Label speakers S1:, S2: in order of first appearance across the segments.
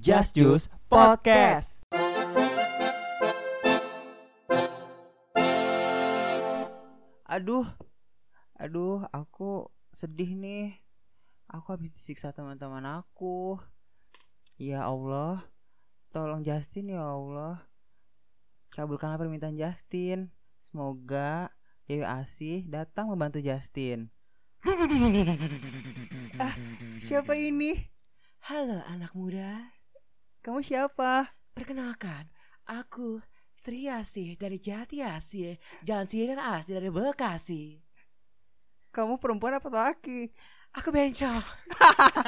S1: Just Juice Podcast.
S2: Aduh, aduh, aku sedih nih. Aku habis disiksa teman-teman aku. Ya Allah, tolong Justin ya Allah. Kabulkanlah permintaan Justin. Semoga Dewi Asih datang membantu Justin. Ah, siapa ini?
S3: Halo anak muda,
S2: Kamu siapa?
S3: perkenalkan aku Sri Asih dari Jati Asih, Jalan Sinar Asih dari Bekasi.
S2: Kamu perempuan apa laki?
S3: Aku bencong.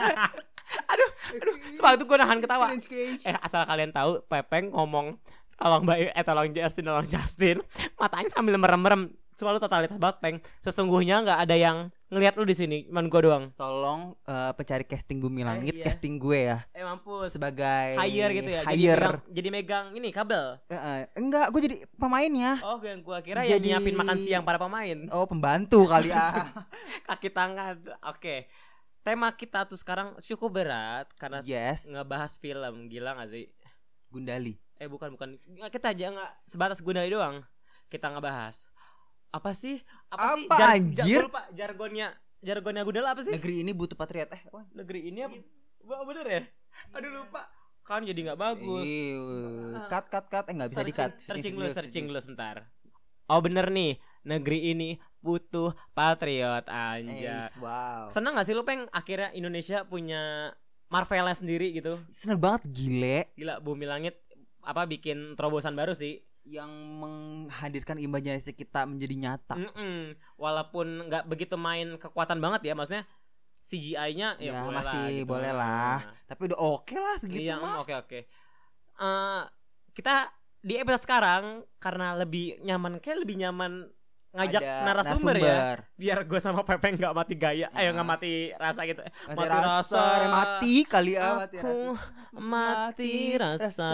S3: aduh, aduh, sepatu gue nahan ketawa. Eh, asal kalian tahu, Pepeng ngomong tolong Mbak eh tolong Justin, tolong Justin. Matanya sambil merem-merem. Selalu totalitas banget, Peng. Sesungguhnya nggak ada yang ngelihat lu di sini, cuman gue doang.
S2: Tolong eh, pencari casting bumi langit,
S3: iya.
S2: casting gue ya.
S3: Eh mampus.
S2: Sebagai
S3: Hire gitu ya. Jadi
S2: Hire.
S3: megang- Jadi, megang ini kabel.
S2: Eh, eh, enggak, gue jadi pemainnya.
S3: Oh, yang gua kira yang
S2: Jadi-
S3: nyiapin makan siang para pemain.
S2: Oh pembantu kali ah.
S3: kaki tangan. Oke. Tema kita tuh sekarang cukup berat karena
S2: yes,
S3: ngebahas film gila gak sih?
S2: Gundali.
S3: Eh bukan bukan Nggak, kita aja nggak sebatas Gundali doang. Kita ngebahas apa sih? Apa, sih?
S2: Apa,
S3: Jar-
S2: anjir?
S3: jar- gua lupa jargonnya jargonnya Gundala apa sih?
S2: Negeri
S3: Negeri,
S2: ini butuh patriot eh. wah.
S3: ini apa? Wah, bener ya? Aduh lupa. Kan jadi nggak bagus. Ah.
S2: Iu, Cut cut cut eh nggak bisa di cut.
S3: Searching lu, searching lu sebentar. Oh bener nih, negeri ini butuh patriot anjay.
S2: Eh, wow.
S3: Seneng gak sih lu peng akhirnya Indonesia punya Marvelnya sendiri gitu?
S2: Seneng banget gile
S3: Gila Bumi Langit apa bikin terobosan baru sih?
S2: yang menghadirkan imajinasi kita menjadi nyata.
S3: Mm-mm. Walaupun nggak begitu main kekuatan banget ya maksudnya CGI-nya ya,
S2: Ya,
S3: boleh lah
S2: masih
S3: gitu.
S2: boleh lah. Tapi udah oke lah
S3: Nah,
S2: segitu
S3: iya,
S2: mah.
S3: mm, oke oke. Eh, kita di episode sekarang karena lebih nyaman kayak lebih nyaman ngajak
S2: Ada
S3: narasumber, ya
S2: narasumber.
S3: biar gue sama Pepe nggak mati gaya ayo
S2: Nah.
S3: nggak mati rasa gitu
S2: Mati,
S3: Mati
S2: rasa,
S3: rasa.
S2: eh, mati kali ya mati
S3: aku
S2: rasa.
S3: mati rasa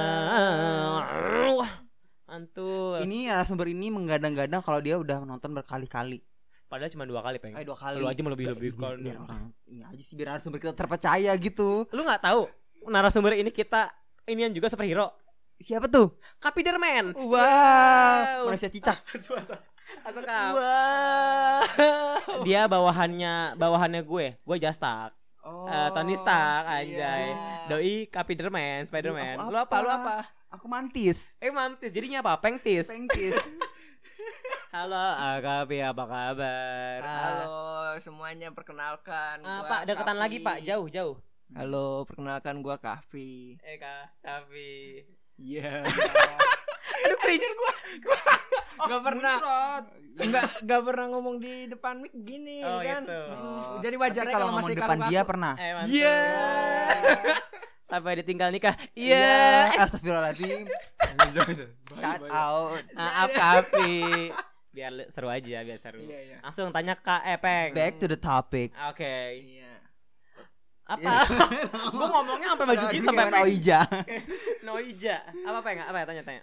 S3: antul
S2: Ini narasumber ini menggadang-gadang kalau dia udah nonton berkali-kali.
S3: padahal cuma dua kali
S2: Eh
S3: pengen
S2: dua kali.
S3: lu aja mau lebih
S2: Biar-
S3: lebih
S2: biar, biar orang ini aja sih biar narasumber kita terpercaya gitu.
S3: lu nggak tahu narasumber ini kita inian juga superhero
S2: Siapa tuh?
S3: Kapiderman
S2: Wow,
S3: Wow.
S2: manusia cicak.
S3: Asal kau. dia bawahannya bawahannya gue gue Jastak
S2: Oh,
S3: Eh, Tony Stark anjay
S2: iya.
S3: doi Kapiderman Spiderman
S2: Oh, Aku
S3: lu apa lu
S2: apa?
S3: apa
S2: Aku mantis.
S3: eh mantis jadinya apa pengtis
S2: Pengkis.
S3: halo Akapi apa kabar
S4: Halo semuanya perkenalkan
S3: Ah,
S4: gua
S3: Pak, deketan
S4: Kavi.
S3: lagi Pak, jauh jauh.
S4: Halo perkenalkan gua Kavi
S3: Eh Kak, tapi
S4: Iya
S3: aduh cringe gua. Oh,
S4: Gak pernah Gak, gak pernah ngomong di depan mic gini
S3: Oh,
S4: kan
S3: gitu.
S4: Hmm, Jadi
S2: Tapi
S4: wajar
S2: kalau ngomong depan dia pernah.
S3: Eh mantul.
S4: Iya.
S3: Sampai ditinggal nikah.
S2: Ya,
S3: Iya.
S2: Astagfirullahaladzim. Shout out.
S3: Ah, Maaf Kapi. Biar le- seru aja, biar seru.
S4: Iya iya
S3: Langsung tanya Kak Epeng.
S2: Back to the topic.
S3: Oke.
S4: Iya
S3: Apa? gua ngomongnya sampai baju gini
S2: Ini
S3: sampai
S2: kayak
S3: Peng.
S2: Oija.
S3: Noija. Apa Peng? Apa ya? Tanya tanya.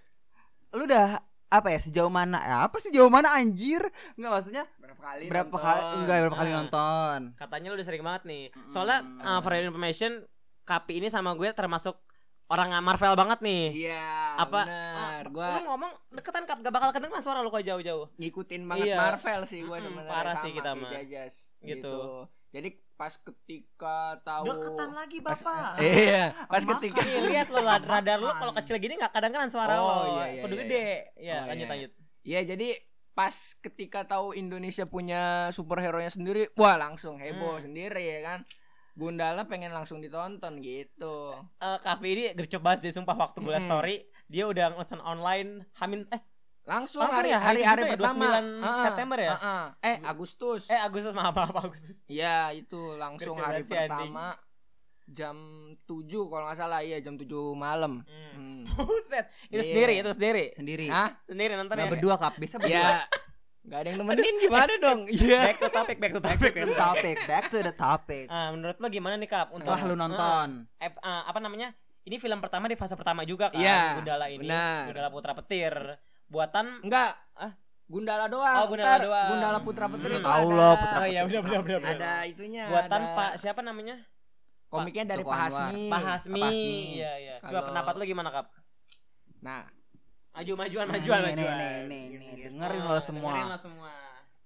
S2: Lu udah apa ya sejauh mana? Ya, apa sejauh mana anjir? Enggak maksudnya
S4: Berapa kali
S2: berapa
S4: nonton?
S2: kali enggak berapa kali
S3: Nah.
S2: nonton?
S3: Katanya lu udah sering banget nih. Soalnya uh, for your information, Kapi ini sama gue termasuk orang Marvel banget nih.
S4: Iya
S3: apa
S4: benar.
S3: Ah, lu
S4: Gua
S3: ngomong deketan kap gak bakal kedengeran suara lu kok jauh-jauh
S4: ngikutin banget
S3: Iya.
S4: Marvel sih gua
S3: Mm-mm,
S4: sebenarnya
S3: parah
S4: sama
S3: sih kita
S4: kayak
S3: mah.
S4: Jajas
S3: Gitu.
S4: Jadi pas ketika tahu
S2: Deketan lagi Bapak.
S4: Iya, pas
S2: Makan. ya.
S4: ketika
S3: Iya, lihat lu rad- radar lu kalau kecil gini gak kedengeran suara
S4: Oh,
S3: lu
S4: iya, iya,
S3: kudu
S4: iya,
S3: gede ya
S4: Oh,
S3: lanjut
S4: iya.
S3: lanjut
S4: Ya jadi pas ketika tahu Indonesia punya superhero nya sendiri, wah langsung heboh
S3: Hmm.
S4: sendiri ya kan. Gundala pengen langsung ditonton gitu.
S3: Eh, Kavi ini gercep banget sih sumpah waktu gue liat
S4: Mm-mm.
S3: story dia udah ngesen online hamin eh
S4: Langsung,
S3: Langsung
S4: hari
S3: ya, hari
S4: hari,
S3: itu
S4: hari
S3: juga ya,
S4: pertama
S3: 29
S4: Heeh,
S3: September ya?
S4: heeh. Eh Agustus.
S3: eh Agustus maaf maaf Agustus
S4: Ya itu langsung
S3: Gercep
S4: hari
S3: banget sih, anjing.
S4: pertama jam 7 kalau nggak salah iya jam 7 malam.
S3: hmm.
S4: Hmm.
S3: Buset, itu
S4: Iya.
S3: sendiri itu sendiri
S2: eh, Sendiri.
S4: Hah?
S3: sendiri nonton
S2: Nah,
S3: ya
S2: berdua kap, biasa berdua.
S4: Ya. Gak ada yang nemenin gimana dong? Iya.
S3: back to topic back to topic
S2: Back to the topic, back to the topic.
S3: Ah, menurut lo gimana nih kap untuk
S2: Setelah lu nonton.
S3: eh, eh, apa namanya ini film pertama di fase pertama juga kan
S4: Iya,
S3: Gundala ini
S4: benar.
S3: Gundala Putra Petir buatan
S4: Enggak.
S3: Ah.
S4: Gundala
S3: Oh,
S4: doang.
S3: Gundala
S4: Ntar
S3: doang.
S4: Gundala Putra Petri.
S2: Hmm,
S4: itu
S2: tahu
S4: ada-
S2: lo, Putra
S3: oh iya benar benar benar benar.
S4: Ada itunya.
S3: buatan
S4: ada
S3: Pak siapa namanya
S4: komiknya dari
S2: Joko
S4: Pak
S2: Anwar.
S4: Hasmi.
S3: Pak Hasmi.
S2: Pak Hasmi.
S3: Iya iya. Coba
S4: Kalau-
S3: pendapat lu gimana, Kap?
S4: Nah,
S3: Maju majuan majuan
S2: Nih, nih,
S3: majuan.
S2: nih, nih, nih, dengerin lo semua.
S3: Oh, Dengerin lo semua.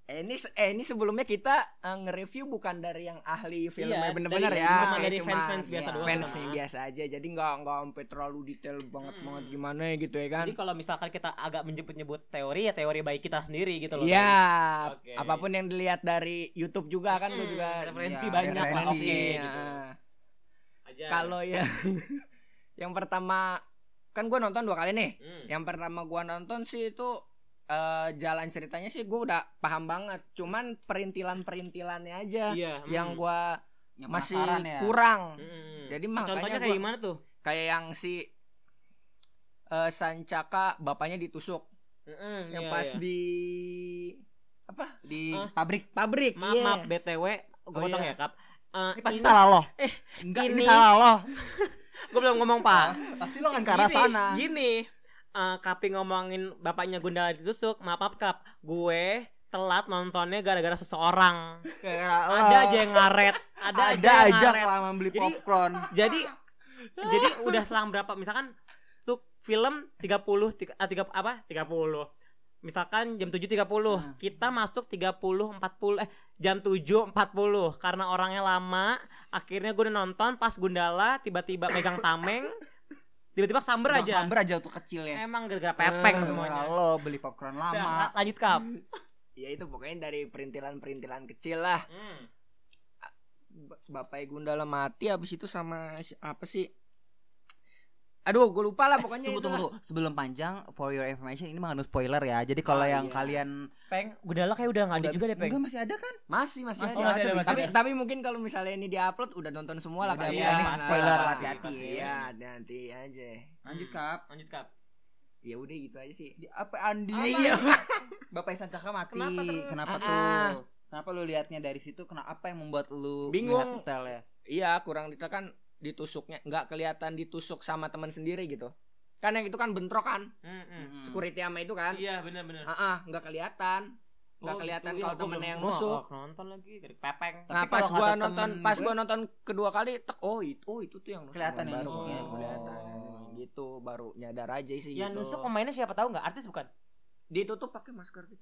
S4: eh, ini se- eh, ini sebelumnya kita eh, nge-review bukan dari yang ahli filmnya
S3: Iya,
S4: bener-bener
S3: dari-
S4: ya.
S3: cuma
S4: Kayak
S3: dari fans-fans
S4: iya,
S3: biasa doang,
S4: fans
S3: teman.
S4: yang biasa aja. Jadi nggak nggak sampai terlalu detail banget banget gimana ya gitu ya kan.
S3: Hmm. Jadi kalau misalkan kita agak menyebut-nyebut teori ya teori baik kita sendiri gitu loh.
S4: Iya,
S3: Oke.
S4: apapun yang dilihat dari YouTube juga kan gue
S3: Hmm,
S4: juga
S3: referensi
S4: ya,
S3: banyak lah,
S4: referensi,
S3: oke,
S4: ya.
S3: gitu. Aja.
S4: Kalau yang yang pertama kan gue nonton dua kali nih.
S3: Hmm.
S4: Yang pertama gua nonton sih itu eh, jalan ceritanya sih gue udah paham banget. Cuman perintilan-perintilannya aja
S3: Iya, hmm.
S4: yang gua
S2: Yang
S4: masih
S2: penasaran ya.
S4: kurang.
S3: Hmm.
S4: Jadi makanya
S3: contohnya kayak
S4: gua-
S3: gimana tuh?
S4: Kayak yang si eh, Sancaka bapaknya ditusuk
S3: Mm-mm,
S4: yang
S3: iya,
S4: pas
S3: iya.
S4: di apa?
S2: di
S3: Ah.
S2: pabrik.
S4: Pabrik.
S3: maaf
S4: iya.
S3: maaf BTW gue
S4: Oh,
S3: potong
S4: iya.
S3: ya, Kap. Eh,
S2: Ini pasti
S3: ini-
S2: salah lo.
S3: eh,
S2: Enggak, ini
S3: ini-
S2: salah lo.
S3: gue belum ngomong, Pak.
S2: Pasti lo kan ke arah
S3: Gini,
S2: sana.
S3: Gini, eh, Kapi ngomongin bapaknya Gundala ditusuk, maaf maaf Kap, gue telat nontonnya gara-gara seseorang.
S2: Ke arah lo.
S3: Ada aja yang ngaret, ada,
S2: ada
S3: aja yang
S2: aja
S3: ngaret.
S2: kelamaan beli
S3: Jadi-
S2: popcorn.
S3: Jadi jadi udah selang berapa misalkan tuh film 30 tiga, ah, tiga- apa 30 misalkan jam 7.30
S2: Hmm.
S3: kita masuk 30 40 eh jam 7.40 karena orangnya lama akhirnya gue udah nonton pas Gundala tiba-tiba megang tameng tiba-tiber samber
S2: Bang
S3: aja
S2: Hamber aja tuh kecilnya.
S3: emang gara-gara pepeng
S4: Eh,
S3: semuanya
S2: Semuanya lo beli popcorn
S3: Udah,
S2: lama.
S3: la- lanjut kap
S4: Ya itu pokoknya dari perintilan-perintilan kecil lah.
S3: Hmm.
S4: Ba- Bapak Gundala mati habis itu sama si- apa sih? Aduh, gue lupa lah pokoknya
S2: Tunggu
S4: itu.
S2: tunggu sebelum panjang for your information ini mah no spoiler ya. Jadi kalau
S4: Ah,
S2: yang
S4: iya.
S2: kalian
S3: peng Gundala kayak udah nggak ada
S2: udah-
S3: juga deh peng Oh,
S2: Enggak masih ada kan?
S4: Masih masih,
S2: Masih
S4: ada.
S2: ada,
S4: Tapi-
S3: masih
S4: tapi
S3: ada.
S4: tapi mungkin kalau misalnya ini diupload udah nonton semua lah
S2: Udah,
S4: kali
S2: iya,
S4: ya.
S2: ini
S4: Nah,
S2: spoiler,
S4: pasti,
S2: hati-hati
S4: pasti.
S2: ya.
S4: Iya, nanti aja. Hmm.
S2: Lanjut kap.
S3: lanjut kap
S4: Ya udah gitu aja sih.
S2: Di, apa Andi?
S4: Ah, iya.
S2: Bapak Isan Caka mati.
S3: Kenapa
S2: Kenapa,
S3: terus?
S4: Ah,
S2: tuh?
S4: ah.
S2: Kenapa lu liatnya dari situ? Kenapa apa yang membuat lu ya?
S4: Bingung.
S2: lihat detailnya?
S4: Iya, kurang ditekan ditusuknya nggak kelihatan ditusuk sama teman sendiri gitu. Kan yang itu kan bentrok kan,
S2: Hmm. Mm-mm.
S4: security sama itu kan.
S3: Hmm, iya Oh, benar-benar
S4: Ah, ah, nggak kelihatan.
S2: Oh,
S4: Nggak
S2: gitu.
S4: kelihatan
S2: Iya,
S4: kalau temennya yang nusuk.
S3: nonton lagi dari pepeng
S2: Tapi
S4: nah, pas
S2: kalau
S4: gua
S2: kata
S4: nonton,
S2: temen
S4: pas
S2: gue-
S4: gua nonton kedua kali, tek, oh itu, oh itu tuh yang nusuk.
S2: Kelihatan yang
S4: Baru-
S2: nusuknya.
S4: oh, kelihatan.
S2: Oh.
S4: Gitu, baru nyadar aja sih
S3: yang Iya,
S4: gitu.
S3: nusuk pemainnya siapa tahu nggak artis bukan
S4: Ditutup pakai masker gitu.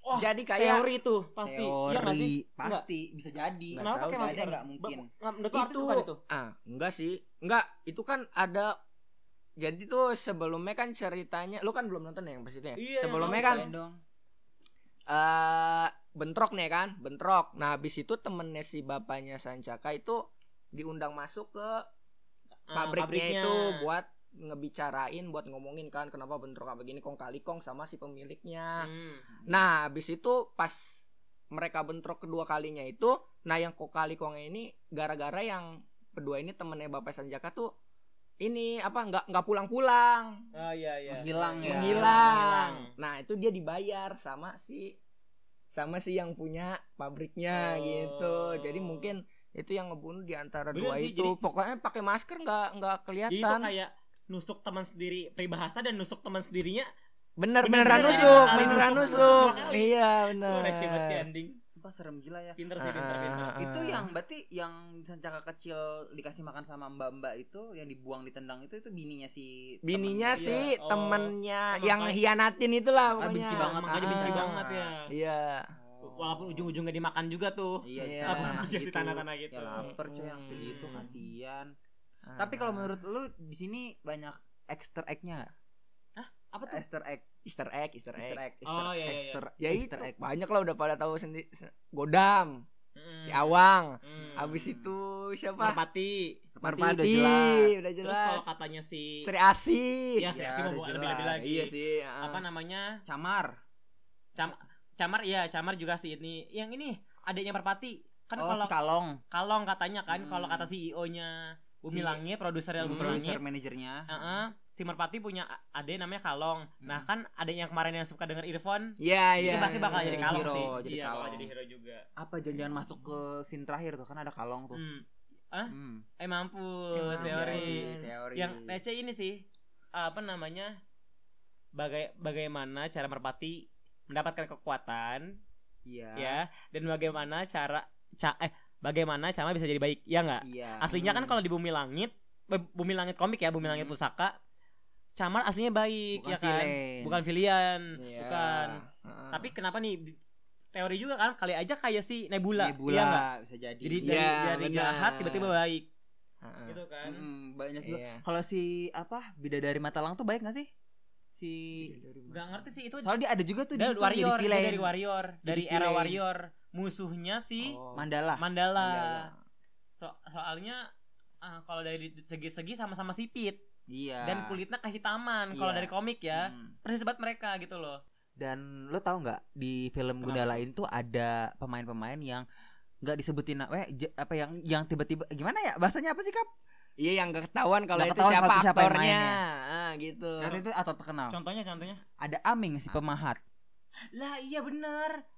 S3: Wah,
S4: Jadi kayak
S3: Oh, teori itu pasti iya nggak sih
S2: Teori
S3: Enggak.
S2: pasti bisa jadi.
S4: Nggak
S3: kenapa
S4: tahu
S3: pakai
S4: sih,
S3: masker
S2: Ada nggak mungkin?
S3: Ba- nggak, menurut lu artis
S4: itu.
S3: bukan itu
S4: Ah, enggak sih. Enggak, itu kan ada jadi tuh sebelumnya kan ceritanya, lu kan belum nonton ya yang pas itu
S3: Iya,
S4: ya?
S3: yang
S4: sebelumnya
S3: nonton.
S4: kan
S2: Ceritain dong.
S4: eh bentrok nih kan bentrok nah habis itu temennya si bapaknya Sancaka itu diundang masuk ke pabriknya,
S3: Ah, pabriknya.
S4: itu buat ngebicarain buat ngomongin kan kenapa bentrok apa gini kong kali kong sama si pemiliknya
S3: Hmm.
S4: nah habis itu pas mereka bentrok kedua kalinya itu nah yang kong kali kong ini gara-gara yang kedua ini temennya bapak Sancaka tuh ini apa nggak nggak pulang-pulang
S3: ah iya iya
S2: Menghilang ya.
S4: menghilang. Nah, itu dia dibayar sama si sama si yang punya
S3: Oh.
S4: pabriknya gitu. Jadi mungkin itu yang ngebunuh di antara
S3: Bener
S4: dua
S3: sih,
S4: itu.
S3: jadi-
S4: Pokoknya pakai masker nggak nggak
S3: jadi itu
S4: kelihatan.
S3: kayak nusuk teman sendiri peribahasa dan nusuk teman sendirinya
S4: Bener
S3: beneran
S4: beneran nusuk,
S3: kali
S4: beneran
S3: nusuk,
S4: nusuk.
S3: nusuk kali.
S4: Iya,
S3: Itu
S4: bener.
S3: udah cepat sih ending
S2: Sumpah serem gila ya.
S3: pinter sih pinter
S4: Ah,
S3: pinter
S4: ah, ah.
S2: Itu yang berarti yang sancaka kecil dikasih makan sama mbak-mbak itu yang dibuang ditendang itu itu bininya si
S4: Bininya
S2: temen.
S4: sih
S3: Iya, oh.
S4: temennya
S3: Emang
S4: yang
S3: kayak-
S4: hianatin itulah
S3: Ah,
S4: pokoknya.
S3: benci banget makanya benci
S4: Ah,
S3: banget ya
S4: Iya.
S2: Oh.
S3: walaupun ujung-ujungnya dimakan juga tuh
S2: Iya,
S4: Iya.
S2: tanah
S3: Jadi
S2: gitu.
S3: tanah-tanah gitu.
S2: Ya lapar cuy yang
S4: Hmm.
S2: segitu kasihan.
S3: Ah.
S2: Tapi kalau menurut lu di sini banyak Easter egg-nya nggak?
S3: apa tuh
S2: Easter egg,
S4: Ah, Easter egg, Easter egg.
S2: Easter egg, Easter,
S3: Oh, iya, iya, iya.
S2: Easter,
S4: Ya itu
S2: Easter egg.
S4: banyak lah udah pada tahu sendiri. Godam,
S3: Hmm.
S4: si Awang,
S3: Hmm.
S4: Abis itu siapa?
S3: merpati
S2: Merpati Iya, udah
S4: Merpati,
S2: jelas.
S4: udah
S3: terus
S4: jelas.
S3: kalau katanya si
S4: Sri Asih.
S3: Iya, sih
S2: Ya,
S3: sih
S2: udah
S3: mau lebih-lebih
S2: jelas.
S3: lagi.
S4: Iya sih. ah.
S3: Apa namanya?
S2: Camar.
S3: Cam Camar iya, Camar juga sih ini. Yang ini adiknya Perpati. Kan
S2: oh,
S3: kalau
S2: si Kalong,
S3: Kalong katanya kan
S2: Hmm.
S3: kalau kata CEO-nya Bumi
S2: Si-
S3: Langit, produsernya
S4: Hmm,
S3: Bumi
S2: produser
S3: Langit.
S2: manajernya.
S3: ya? Heeh. Si Merpati punya a- adik namanya Kalong. Nah, kan adiknya yang kemarin yang suka denger earphone
S4: Iya, Hmm. iya.
S3: itu pasti bakal
S2: Jadi
S3: jadi Kalong
S2: hero,
S3: sih.
S2: jadi
S3: iya, bakal
S2: Kalong.
S3: jadi hero juga.
S2: Apa jangan-jangan masuk ke scene terakhir tuh kan ada Kalong tuh.
S3: Hmm.
S2: Hmm. Iya,
S3: Eh mampus, teori.
S2: teori. Iya,
S3: Yang receh ini sih apa namanya? Baga bagaimana cara Merpati mendapatkan kekuatan
S2: Iya.
S3: ya dan bagaimana cara ca eh bagaimana cara bisa jadi baik ya nggak
S2: Iya.
S3: Hmm. aslinya kan kalau di bumi langit eh, Bumi Langit komik ya, Bumi Langit
S2: Hmm.
S3: Pusaka. Camar aslinya baik
S2: Bukan
S3: ya kan.
S2: villain.
S3: Bukan villain,
S4: Iya. Ah.
S3: bukan.
S4: Heeh.
S3: Tapi kenapa nih bi- teori juga kan kali aja kayak si Nebula,
S2: Nebula
S3: iya nggak?
S2: bisa jadi.
S3: Jadi
S4: Iya,
S3: dari, dari
S4: benar. Nah.
S3: jahat tiba-tiba baik
S4: Heeh.
S3: gitu kan.
S2: Mm, banyak juga.
S4: Iya.
S2: Kalau si apa Bidadari Mata Lang tuh baik gak sih? Si
S4: Iya,
S3: Gak ngerti sih itu
S2: Soalnya dia ada juga tuh
S3: dari
S2: situ jadi
S3: warrior, Iya. dia
S2: villain.
S3: dari warrior, dari era
S2: villain.
S3: warrior. Musuhnya si
S4: Oh.
S2: Mandala.
S3: Mandala.
S4: Mandala.
S3: So- soalnya ah, kalau dari segi-segi sama-sama sipit
S2: Iya.
S3: dan kulitnya kehitaman
S2: Iya.
S3: kalau dari komik ya.
S2: Mm.
S3: Persis banget mereka gitu loh.
S2: Dan lo tau nggak di film
S3: Kenapa?
S2: Gundala ini tuh ada pemain-pemain yang nggak disebutin na- eh, j- apa yang yang tiba-tiba gimana ya bahasanya apa sih kap?
S4: Iya yang gak ketahuan kalau
S2: Nggak
S4: itu
S2: ketahuan
S4: siapa
S2: kalau itu siapa yang
S4: aktornya.
S2: mainnya.
S4: Ah, gitu.
S2: Waktu itu atau terkenal.
S3: Contohnya contohnya.
S2: Ada Aming si pemahat.
S3: Lah iya benar.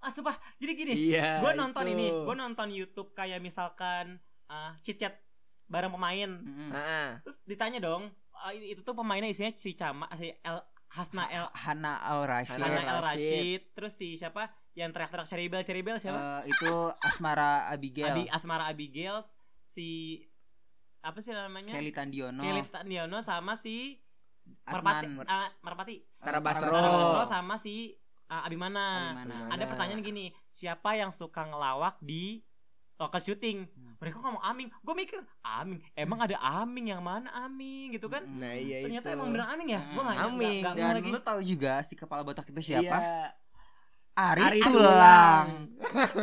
S3: Ah sumpah, jadi gini.
S4: Iya.
S3: gue nonton
S4: itu.
S3: ini, gue nonton YouTube kayak misalkan ah chit chat bareng pemain.
S2: Mm-mm.
S4: Heeh.
S3: Terus ditanya dong, ah, itu tuh pemainnya isinya si Cama, si El, Hasna El,
S2: Hana Al Iya, Rashid.
S4: Hana
S3: Hana El
S4: Rashid.
S3: Rashid, terus si siapa yang teriak-teriak Ceribel, Ceribel siapa?
S2: Eh, itu Asmara Abigail.
S3: Adi Asmara Abigail si apa sih namanya?
S2: Kelly Tandiono.
S3: Kelly Tandiono sama si Merpati,
S2: Adnan.
S3: ah, Merpati.
S2: eh,
S4: Tara Basro.
S3: Tara Basro sama si ah, Abimana.
S2: Abimana.
S3: Ada pertanyaan gini, siapa yang suka ngelawak di lokal syuting? Mereka ngomong Aming. Gue mikir, Aming. Emang ada Aming yang mana Aming gitu kan?
S4: Nah, iya
S3: Ternyata
S4: itu.
S3: emang bener Aming ya? Gue nggak
S4: Aming.
S3: nggak- nggak
S2: Dan
S3: lagi.
S2: lu tahu juga si kepala botak itu
S4: Iya.
S2: siapa? Ari,
S4: Ari
S2: Tulang.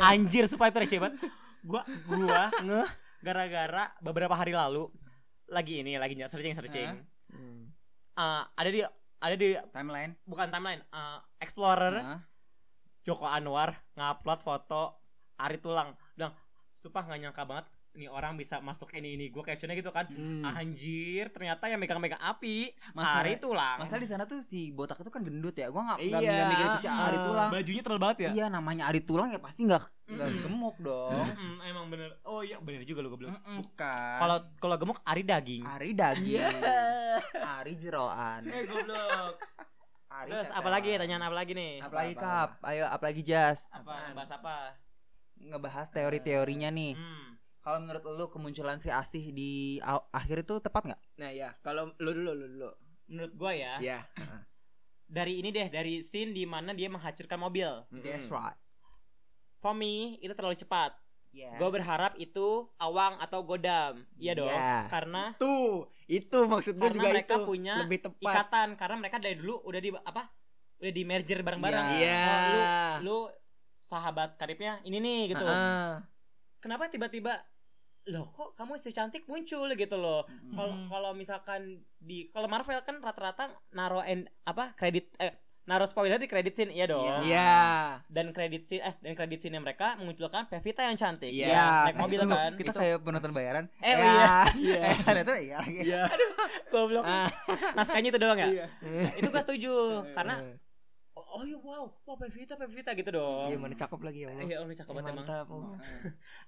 S3: Anjir supaya itu receh banget. Gua gua ngeh gara-gara beberapa hari lalu lagi ini lagi searching searching. Eh,
S4: Hmm.
S3: ada di ada di
S2: Timeline.
S3: bukan timeline eh, explorer
S2: Nah,
S3: Joko Anwar ngupload foto Ari Tulang. Dang, sumpah nggak nyangka banget nih orang bisa masuk ini ini gua captionnya gitu kan.
S4: Hmm.
S3: Anjir, ternyata yang megang-megang api
S2: Masalah-
S3: Ari Tulang.
S2: Masalah di sana tuh si botak itu kan gendut ya. Gua nggak nggak
S4: Iya.
S2: nggak mikir itu si Ari
S3: Eh,
S2: Tulang.
S3: Bajunya terlalu banget ya.
S2: Iya namanya Ari Tulang ya pasti nggak nggak
S3: Mm-mm.
S2: gemuk dong.
S3: Mm, emang bener. Oh iya bener juga lu goblok.
S2: Iya. Mm-mm, kan.
S3: Kalau kalau gemuk Ari daging.
S2: Ari daging,
S3: iya.
S2: Ari jeroan,
S3: Eh goblok.
S2: Ari
S3: Terus
S2: tetelan.
S4: kan.
S3: apalagi ya, tanyaan apa lagi nih?
S2: Apalagi
S4: Apa, apa,
S2: kap, ayo apalagi Jas
S3: Apa bahas apa?
S2: ngebahas teori-teorinya nih.
S3: Hmm.
S2: Kalau menurut lu kemunculan si Asih di au- akhir itu tepat nggak?
S4: Nah, ya, kalau lu dulu lu dulu.
S3: Menurut gua ya,
S4: Ya.
S3: dari ini deh dari scene di mana dia menghancurkan mobil.
S2: That's right.
S3: For me itu terlalu cepat.
S2: Yes.
S3: Gua berharap itu Awang atau Godam. Iya dong.
S2: Yes.
S3: Karena
S4: Tuh, itu maksud gue
S3: Karena
S4: juga
S3: mereka
S4: itu.
S3: punya
S4: lebih tepat.
S3: ikatan karena mereka dari dulu udah di apa? Udah di merger bareng-bareng.
S2: Iya.
S4: Iya.
S3: Oh, lu, lu sahabat karibnya ini nih gitu.
S4: Heeh.
S3: Kenapa tiba-tiba loh kok kamu si cantik muncul gitu loh.
S2: Mm-mm.
S3: kalau
S4: Hmm.
S3: kalau misalkan di kalau Marvel kan rata-rata naro en, apa kredit eh naro spoiler di kredit scene ya
S2: Iya.
S3: dong.
S4: Iya.
S3: Dan kredit scene eh dan kredit scene mereka munculkan Pevita yang cantik.
S4: Iya.
S2: Ya,
S3: Naik mobil
S2: itu
S3: kan.
S2: Kita
S4: Itu-
S2: kayak penonton bayaran. Ya.
S3: Eh, iya.
S4: Iya.
S2: Eh, ternyata iya lagi.
S3: Goblok.
S4: Ah. Iya.
S3: Naskahnya itu doang ya?
S2: Iya.
S3: Itu gue setuju karena oh, oh iya wow, wow Pevita Pevita gitu dong.
S4: Iya, mana cakep lagi ya Allah.
S3: Iya, Allah cakep banget emang.
S4: Mantap. Allah.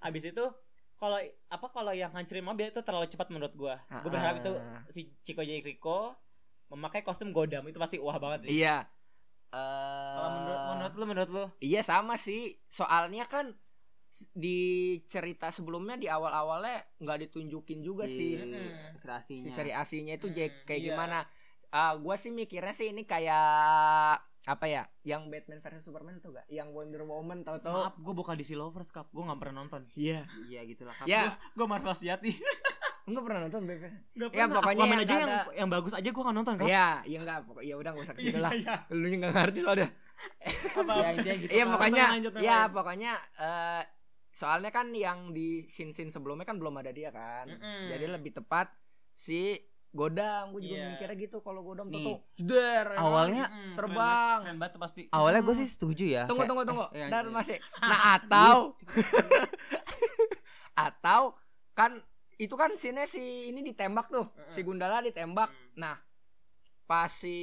S3: Abis itu kalau apa kalau yang hancurin mobil itu terlalu cepat menurut gua. Gua
S4: Ah.
S3: berharap itu si Chico Jericho memakai kostum godam itu pasti wah banget sih.
S4: Iya.
S3: Kalau menurut
S4: Eh,
S3: menurut lu menurut lu
S4: Iya sama sih. Soalnya kan s- di cerita sebelumnya di awal-awalnya nggak ditunjukin
S3: Iya.
S4: juga sih
S3: Mm-mm.
S2: Si Asihnya.
S4: si seri aslinya itu
S3: Hmm,
S4: Jack kayak
S3: iya.
S4: gimana. Ah, gua sih mikirnya sih ini kayak apa ya? Yang Batman versus Superman tuh gak? Yang Wonder Woman tau-tau?
S3: Maaf, gue bukan DC Lovers Cup. Gue gak pernah nonton.
S4: Iya.
S2: Iya gitu lah. Kap.
S4: Ya,
S3: Gue Marvel sejati.
S4: enggak pernah nonton Batman.
S3: Gak
S4: Ya,
S3: pernah.
S4: pokoknya
S3: Aquaman
S4: yang
S3: aja yang,
S4: kata-
S3: yang bagus aja gue gak nonton kan.
S4: Iya, ya enggak pokok ya udah enggak usah ke situ lah.
S3: Iya,
S4: Lu enggak ngerti soalnya.
S3: Apa?
S2: Ya, intinya gitu.
S4: Iya,
S2: Kap.
S4: pokoknya
S3: lanjut,
S4: ya
S3: lanjut.
S4: pokoknya eh soalnya kan yang di scene-scene sebelumnya kan belum ada dia kan.
S3: Mm-mm.
S4: Jadi lebih tepat si Godam, gue juga
S3: Iya.
S4: mikirnya gitu kalau Godam
S2: Nih.
S4: tuh jeder ya kan?
S2: Awalnya
S3: Mm, keren
S4: Terbang.
S3: banget, Keren banget tuh pasti.
S2: awalnya gue sih setuju ya.
S4: Tunggu
S2: Kayak,
S4: tunggu tunggu.
S3: iya,
S2: eh, yang-
S4: Dan masih. Nah atau atau kan itu kan scene si ini ditembak tuh.
S3: Eh,
S4: Si Gundala ditembak.
S3: Mm.
S4: Nah pas si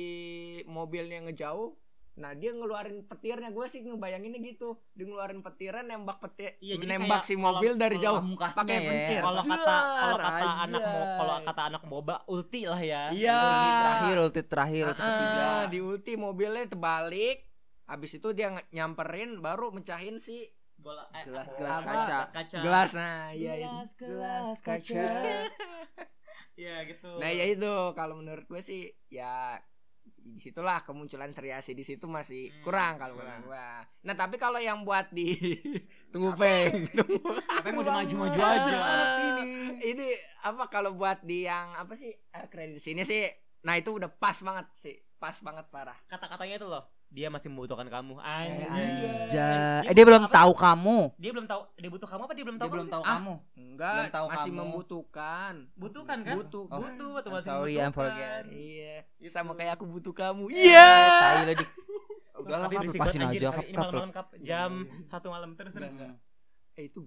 S4: mobilnya ngejauh, nah dia ngeluarin petirnya. Gue sih ngebayanginnya gitu. Dia ngeluarin petirnya nembak petir,
S3: Iya, jadi
S4: nembak
S3: kayak
S4: si mobil
S3: kalau-
S4: dari
S3: kalau
S4: jauh
S2: pamungkasnya
S4: pakai
S2: ya.
S4: petir.
S3: Kalau kata kalau
S4: Jar,
S3: kata anak mo-
S4: anjay.
S3: kalau kata anak moba ulti lah ya.
S4: Iya.
S2: ulti terakhir, ulti terakhir, ulti ketiga.
S4: Ah, di ulti mobilnya terbalik. Habis itu dia nge- nyamperin baru mencahin si
S5: bola eh,
S2: Gelas,
S5: apa?
S2: gelas
S5: Apa?
S2: kaca.
S5: gelas kaca
S4: Gelas nah iya itu.
S6: Gelas
S5: gelas
S6: kaca.
S5: iya gitu
S4: Nah ya itu kalau menurut gue sih ya disitulah kemunculan seriasi di situ masih
S5: Hmm,
S4: kurang kalau
S5: kurang.
S4: menurut gue. Nah tapi kalau yang buat di tunggu peng tunggu
S5: tapi mau maju-maju aja
S4: ini apa kalau buat di yang apa sih eh, kredit sini sih nah itu udah pas banget sih pas banget parah
S5: kata-katanya itu loh
S3: Dia masih membutuhkan kamu.
S4: Eh,
S3: Anjay. Iya,
S6: Anjay.
S5: Dia-
S6: Eh, dia belum
S5: apa-
S6: tahu kamu.
S5: dia belum tahu dia butuh kamu apa dia belum
S2: Dia
S5: tahu
S2: belum
S5: sih?
S2: tahu
S5: Ah,
S2: kamu.
S4: enggak
S2: Belum tahu
S4: masih
S2: kamu.
S4: membutuhkan
S5: butuhkan kan
S4: butuh
S2: Oh.
S5: butuh betul
S2: I'm
S5: masih
S2: sorry,
S5: butuhkan.
S2: I'm forget.
S4: iya
S5: Itu.
S4: sama kayak aku butuh kamu
S6: Eh,
S4: iya
S6: Tai lo dik. Udah lah,
S3: Tapi
S6: Kap,
S3: berisik
S6: lepasin
S3: banget, anjir.
S6: aja,
S3: Hari
S6: Kap,
S3: Ini
S6: Kap,
S3: malam-malam kap jam satu malam terus terus.
S2: Udah,
S4: Eh, itu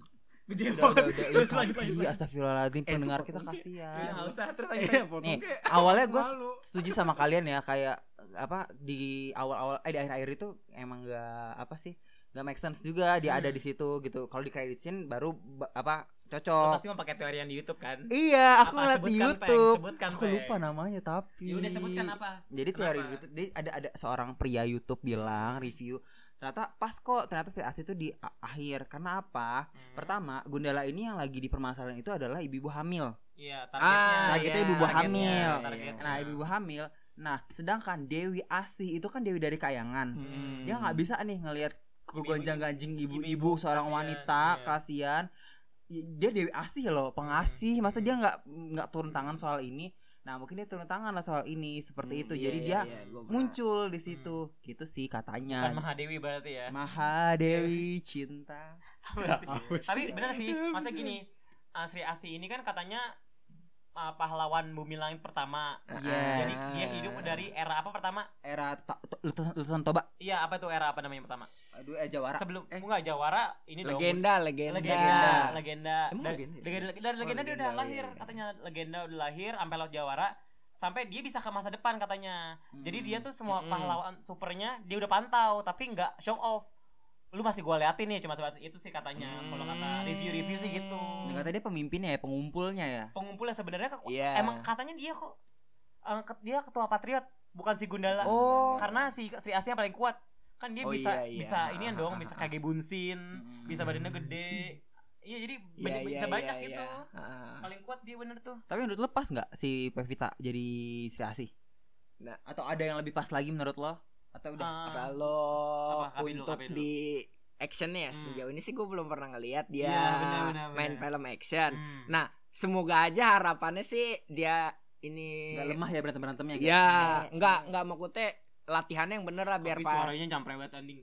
S5: gede
S2: udah,
S5: banget
S2: udah,
S5: terus
S2: udah.
S5: lanjut lanjut
S2: Iya,
S5: lanjut.
S2: Astagfirullahaladzim
S4: Eh, itu
S2: pendengar kita
S4: pokoknya-
S3: Iya,
S2: kasihan.
S3: nggak usah terus lanjut.
S4: Iya,
S2: Nih, eh,
S4: pokoknya
S2: awalnya gue
S4: malu.
S2: setuju sama kalian ya kayak eh, apa di awal-awal eh di akhir-akhir itu emang nggak apa sih nggak make sense juga dia ada di situ gitu kalau di credit scene baru ba- apa
S3: Lu
S2: cocok
S3: Pasti mau pakai teori yang di YouTube kan?
S2: iya Oh. aku
S3: Apa?
S2: ngeliat di
S3: Sebutkan,
S2: YouTube
S3: Peng. Sebutkan,
S2: aku lupa
S3: Peng.
S2: namanya tapi
S5: ya udah sebutkan apa
S2: jadi teori
S5: Kenapa?
S2: YouTube dia ada ada seorang pria YouTube bilang review ternyata pas kok ternyata seriasi itu di a- akhir karena
S3: Hmm.
S2: apa pertama Gundala ini yang lagi dipermasalahan itu adalah ibu-ibu hamil
S3: Iya, targetnya.
S2: Ah, targetnya
S4: iya,
S2: ibu buah
S4: targetnya,
S2: hamil.
S4: targetnya.
S3: Nah,
S2: nah ibu-ibu hamil nah sedangkan Dewi Asih itu kan Dewi dari Kayangan
S4: Hmm.
S2: dia nggak bisa nih ngelihat kegonjang ganjing
S3: ibu-ibu,
S2: ibu-ibu seorang
S3: kasihan,
S2: wanita
S3: iya.
S2: kasihan I- dia Dewi Asih loh
S3: Hmm,
S2: pengasih masa dia nggak nggak turun tangan soal ini nah mungkin dia turun tangan lah soal ini
S3: Hmm,
S2: seperti itu
S4: Iya,
S2: jadi
S4: iya,
S2: dia
S4: iya, gua pernah.
S2: muncul di situ gitu sih
S3: Bukan
S2: katanya
S3: Mahadewi Kan berarti ya.
S2: Mahadewi cinta
S3: Tapi bener sih, masa gini, uh, Sri Asi ini kan katanya uh, pahlawan bumi langit pertama.
S4: Iya,
S3: Iya, Jadi dia hidup dari era apa pertama?
S2: era ta- to- letusan, letusan toba
S3: Iya, apa tuh era apa namanya pertama?
S2: aduh eh Jawara
S3: Sebelum
S4: eh.
S3: enggak Jawara ini dong.
S4: legenda legenda
S3: legenda, legenda.
S4: Emang
S3: Dari-
S4: legenda ya?
S3: dari- dari- dari
S4: Oh,
S3: legenda dia udah
S4: legenda,
S3: lahir,
S4: iya.
S3: katanya legenda udah lahir sampai laut Jawara sampai dia bisa ke masa depan katanya. Jadi
S2: Hmm.
S3: dia tuh semua
S4: Mm-mm.
S3: pahlawan supernya dia udah pantau tapi nggak show off. Lu masih gua liatin nih cuma sebatas itu sih katanya.
S4: Mm.
S3: Kalau kata review-review sih gitu.
S2: Nah, kata dia pemimpinnya ya pengumpulnya ya
S3: Pengumpulnya sebenarnya kok
S4: Iya.
S3: emang katanya dia kok eh, ke- dia ketua patriot bukan si Gundala.
S4: oh
S3: Karena si Sri Asih yang paling kuat. Kan dia
S4: Oh,
S3: bisa
S4: iya, iya.
S3: bisa ini kan dong bisa kage bunsin,
S2: Mm.
S3: Hmm. bisa badannya gede. Iya jadi
S4: Iya,
S3: banyak-
S4: iya,
S3: bisa banyak
S4: iya,
S3: gitu.
S4: iya. Ah.
S3: Paling kuat dia bener tuh.
S2: Tapi menurut lo pas nggak si Pevita jadi Sri Asih?
S4: Nah.
S2: atau ada yang lebih pas lagi menurut lo? Atau udah?
S3: Ah,
S4: Kalau
S3: Apa? Kapi dulu,
S4: untuk
S3: kapi dulu.
S4: di actionnya ya,
S3: Hmm.
S4: sejauh ini sih gue belum pernah ngelihat dia
S3: Iya, benar, benar,
S4: main
S3: benar.
S4: film action.
S3: hmm.
S4: Nah, semoga aja harapannya sih dia ini
S2: Nggak lemah ya berantem berantemnya?
S4: Ya, nggak nggak maksudnya latihannya yang bener lah Nah, biar
S3: Tapi
S4: pas.
S3: suaranya camprewet anjing.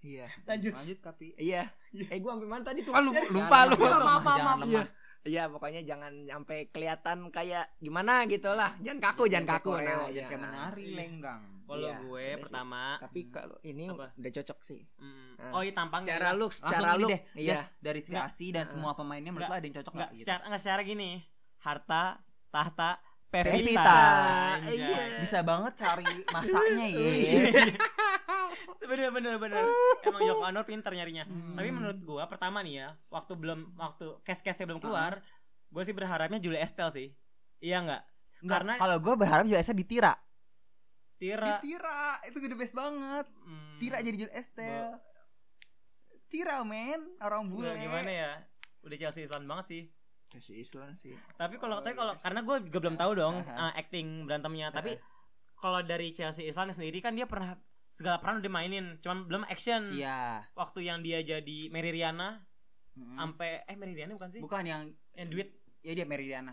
S4: Iya.
S3: Lanjut.
S2: Lanjut kapi.
S4: Iya. Eh gue sampai mana tadi tuh Ah, lu-
S2: Jangan
S4: lupa lupa.
S2: lemah,
S4: lupa.
S2: jangan
S4: maaf.
S2: lemah.
S4: Iya, pokoknya jangan sampai kelihatan kayak gimana gitu lah. Jangan kaku, jangan
S2: kayak
S4: kaku.
S2: koreo, eh,
S4: Nah,
S2: jangan
S4: iya.
S2: kayak menari lenggang.
S3: Kalau
S4: Iya,
S3: gue
S4: bener sih.
S3: pertama
S4: Tapi kalau ini
S3: Apa?
S4: udah cocok sih.
S3: mm,
S4: Ah.
S3: Oh iya tampang
S4: Secara
S3: enggak,
S4: look,
S2: Langsung
S4: secara
S2: ini
S4: look.
S2: deh.
S4: Iya.
S2: Iya. Dari Sri Asih dan semua pemainnya menurut lo ada yang cocok
S3: enggak
S2: nggak? Gitu.
S3: secara enggak secara gini. Harta, tahta, pevita.
S2: Pevita.
S3: Anjay.
S2: Iya. Bisa banget cari masaknya ya.
S3: bener bener bener. Emang Joko Anwar pinter nyarinya.
S2: Hmm.
S3: Tapi menurut gue pertama nih ya, waktu belum waktu kes-kesnya
S2: Ah.
S3: belum keluar, gue sih berharapnya Julia Estelle sih. Iya enggak?
S2: Karena
S3: Karena-
S2: kalau gue berharap Julia Estelle ditira.
S3: Tira.
S2: Ditira, itu gede best banget.
S3: mm,
S2: Tira jadi Julia Estelle. Tira men, orang bule.
S3: udah gimana ya? Udah Chelsea Island banget sih.
S4: Kasih Islam sih.
S3: Tapi kalau tapi
S2: Iya.
S3: kalau karena gue juga belum tahu dong
S2: Aha.
S3: uh, acting
S2: Iya.
S3: berantemnya. Tapi kalau dari Chelsea Island sendiri kan dia pernah segala peran udah mainin, cuman belum action.
S2: Iya.
S3: Waktu yang dia jadi Mary Riana
S2: Mm-mm.
S3: sampai eh Mary Riana bukan sih?
S2: Bukan yang
S3: Yang duit.
S2: ya dia Meridiana.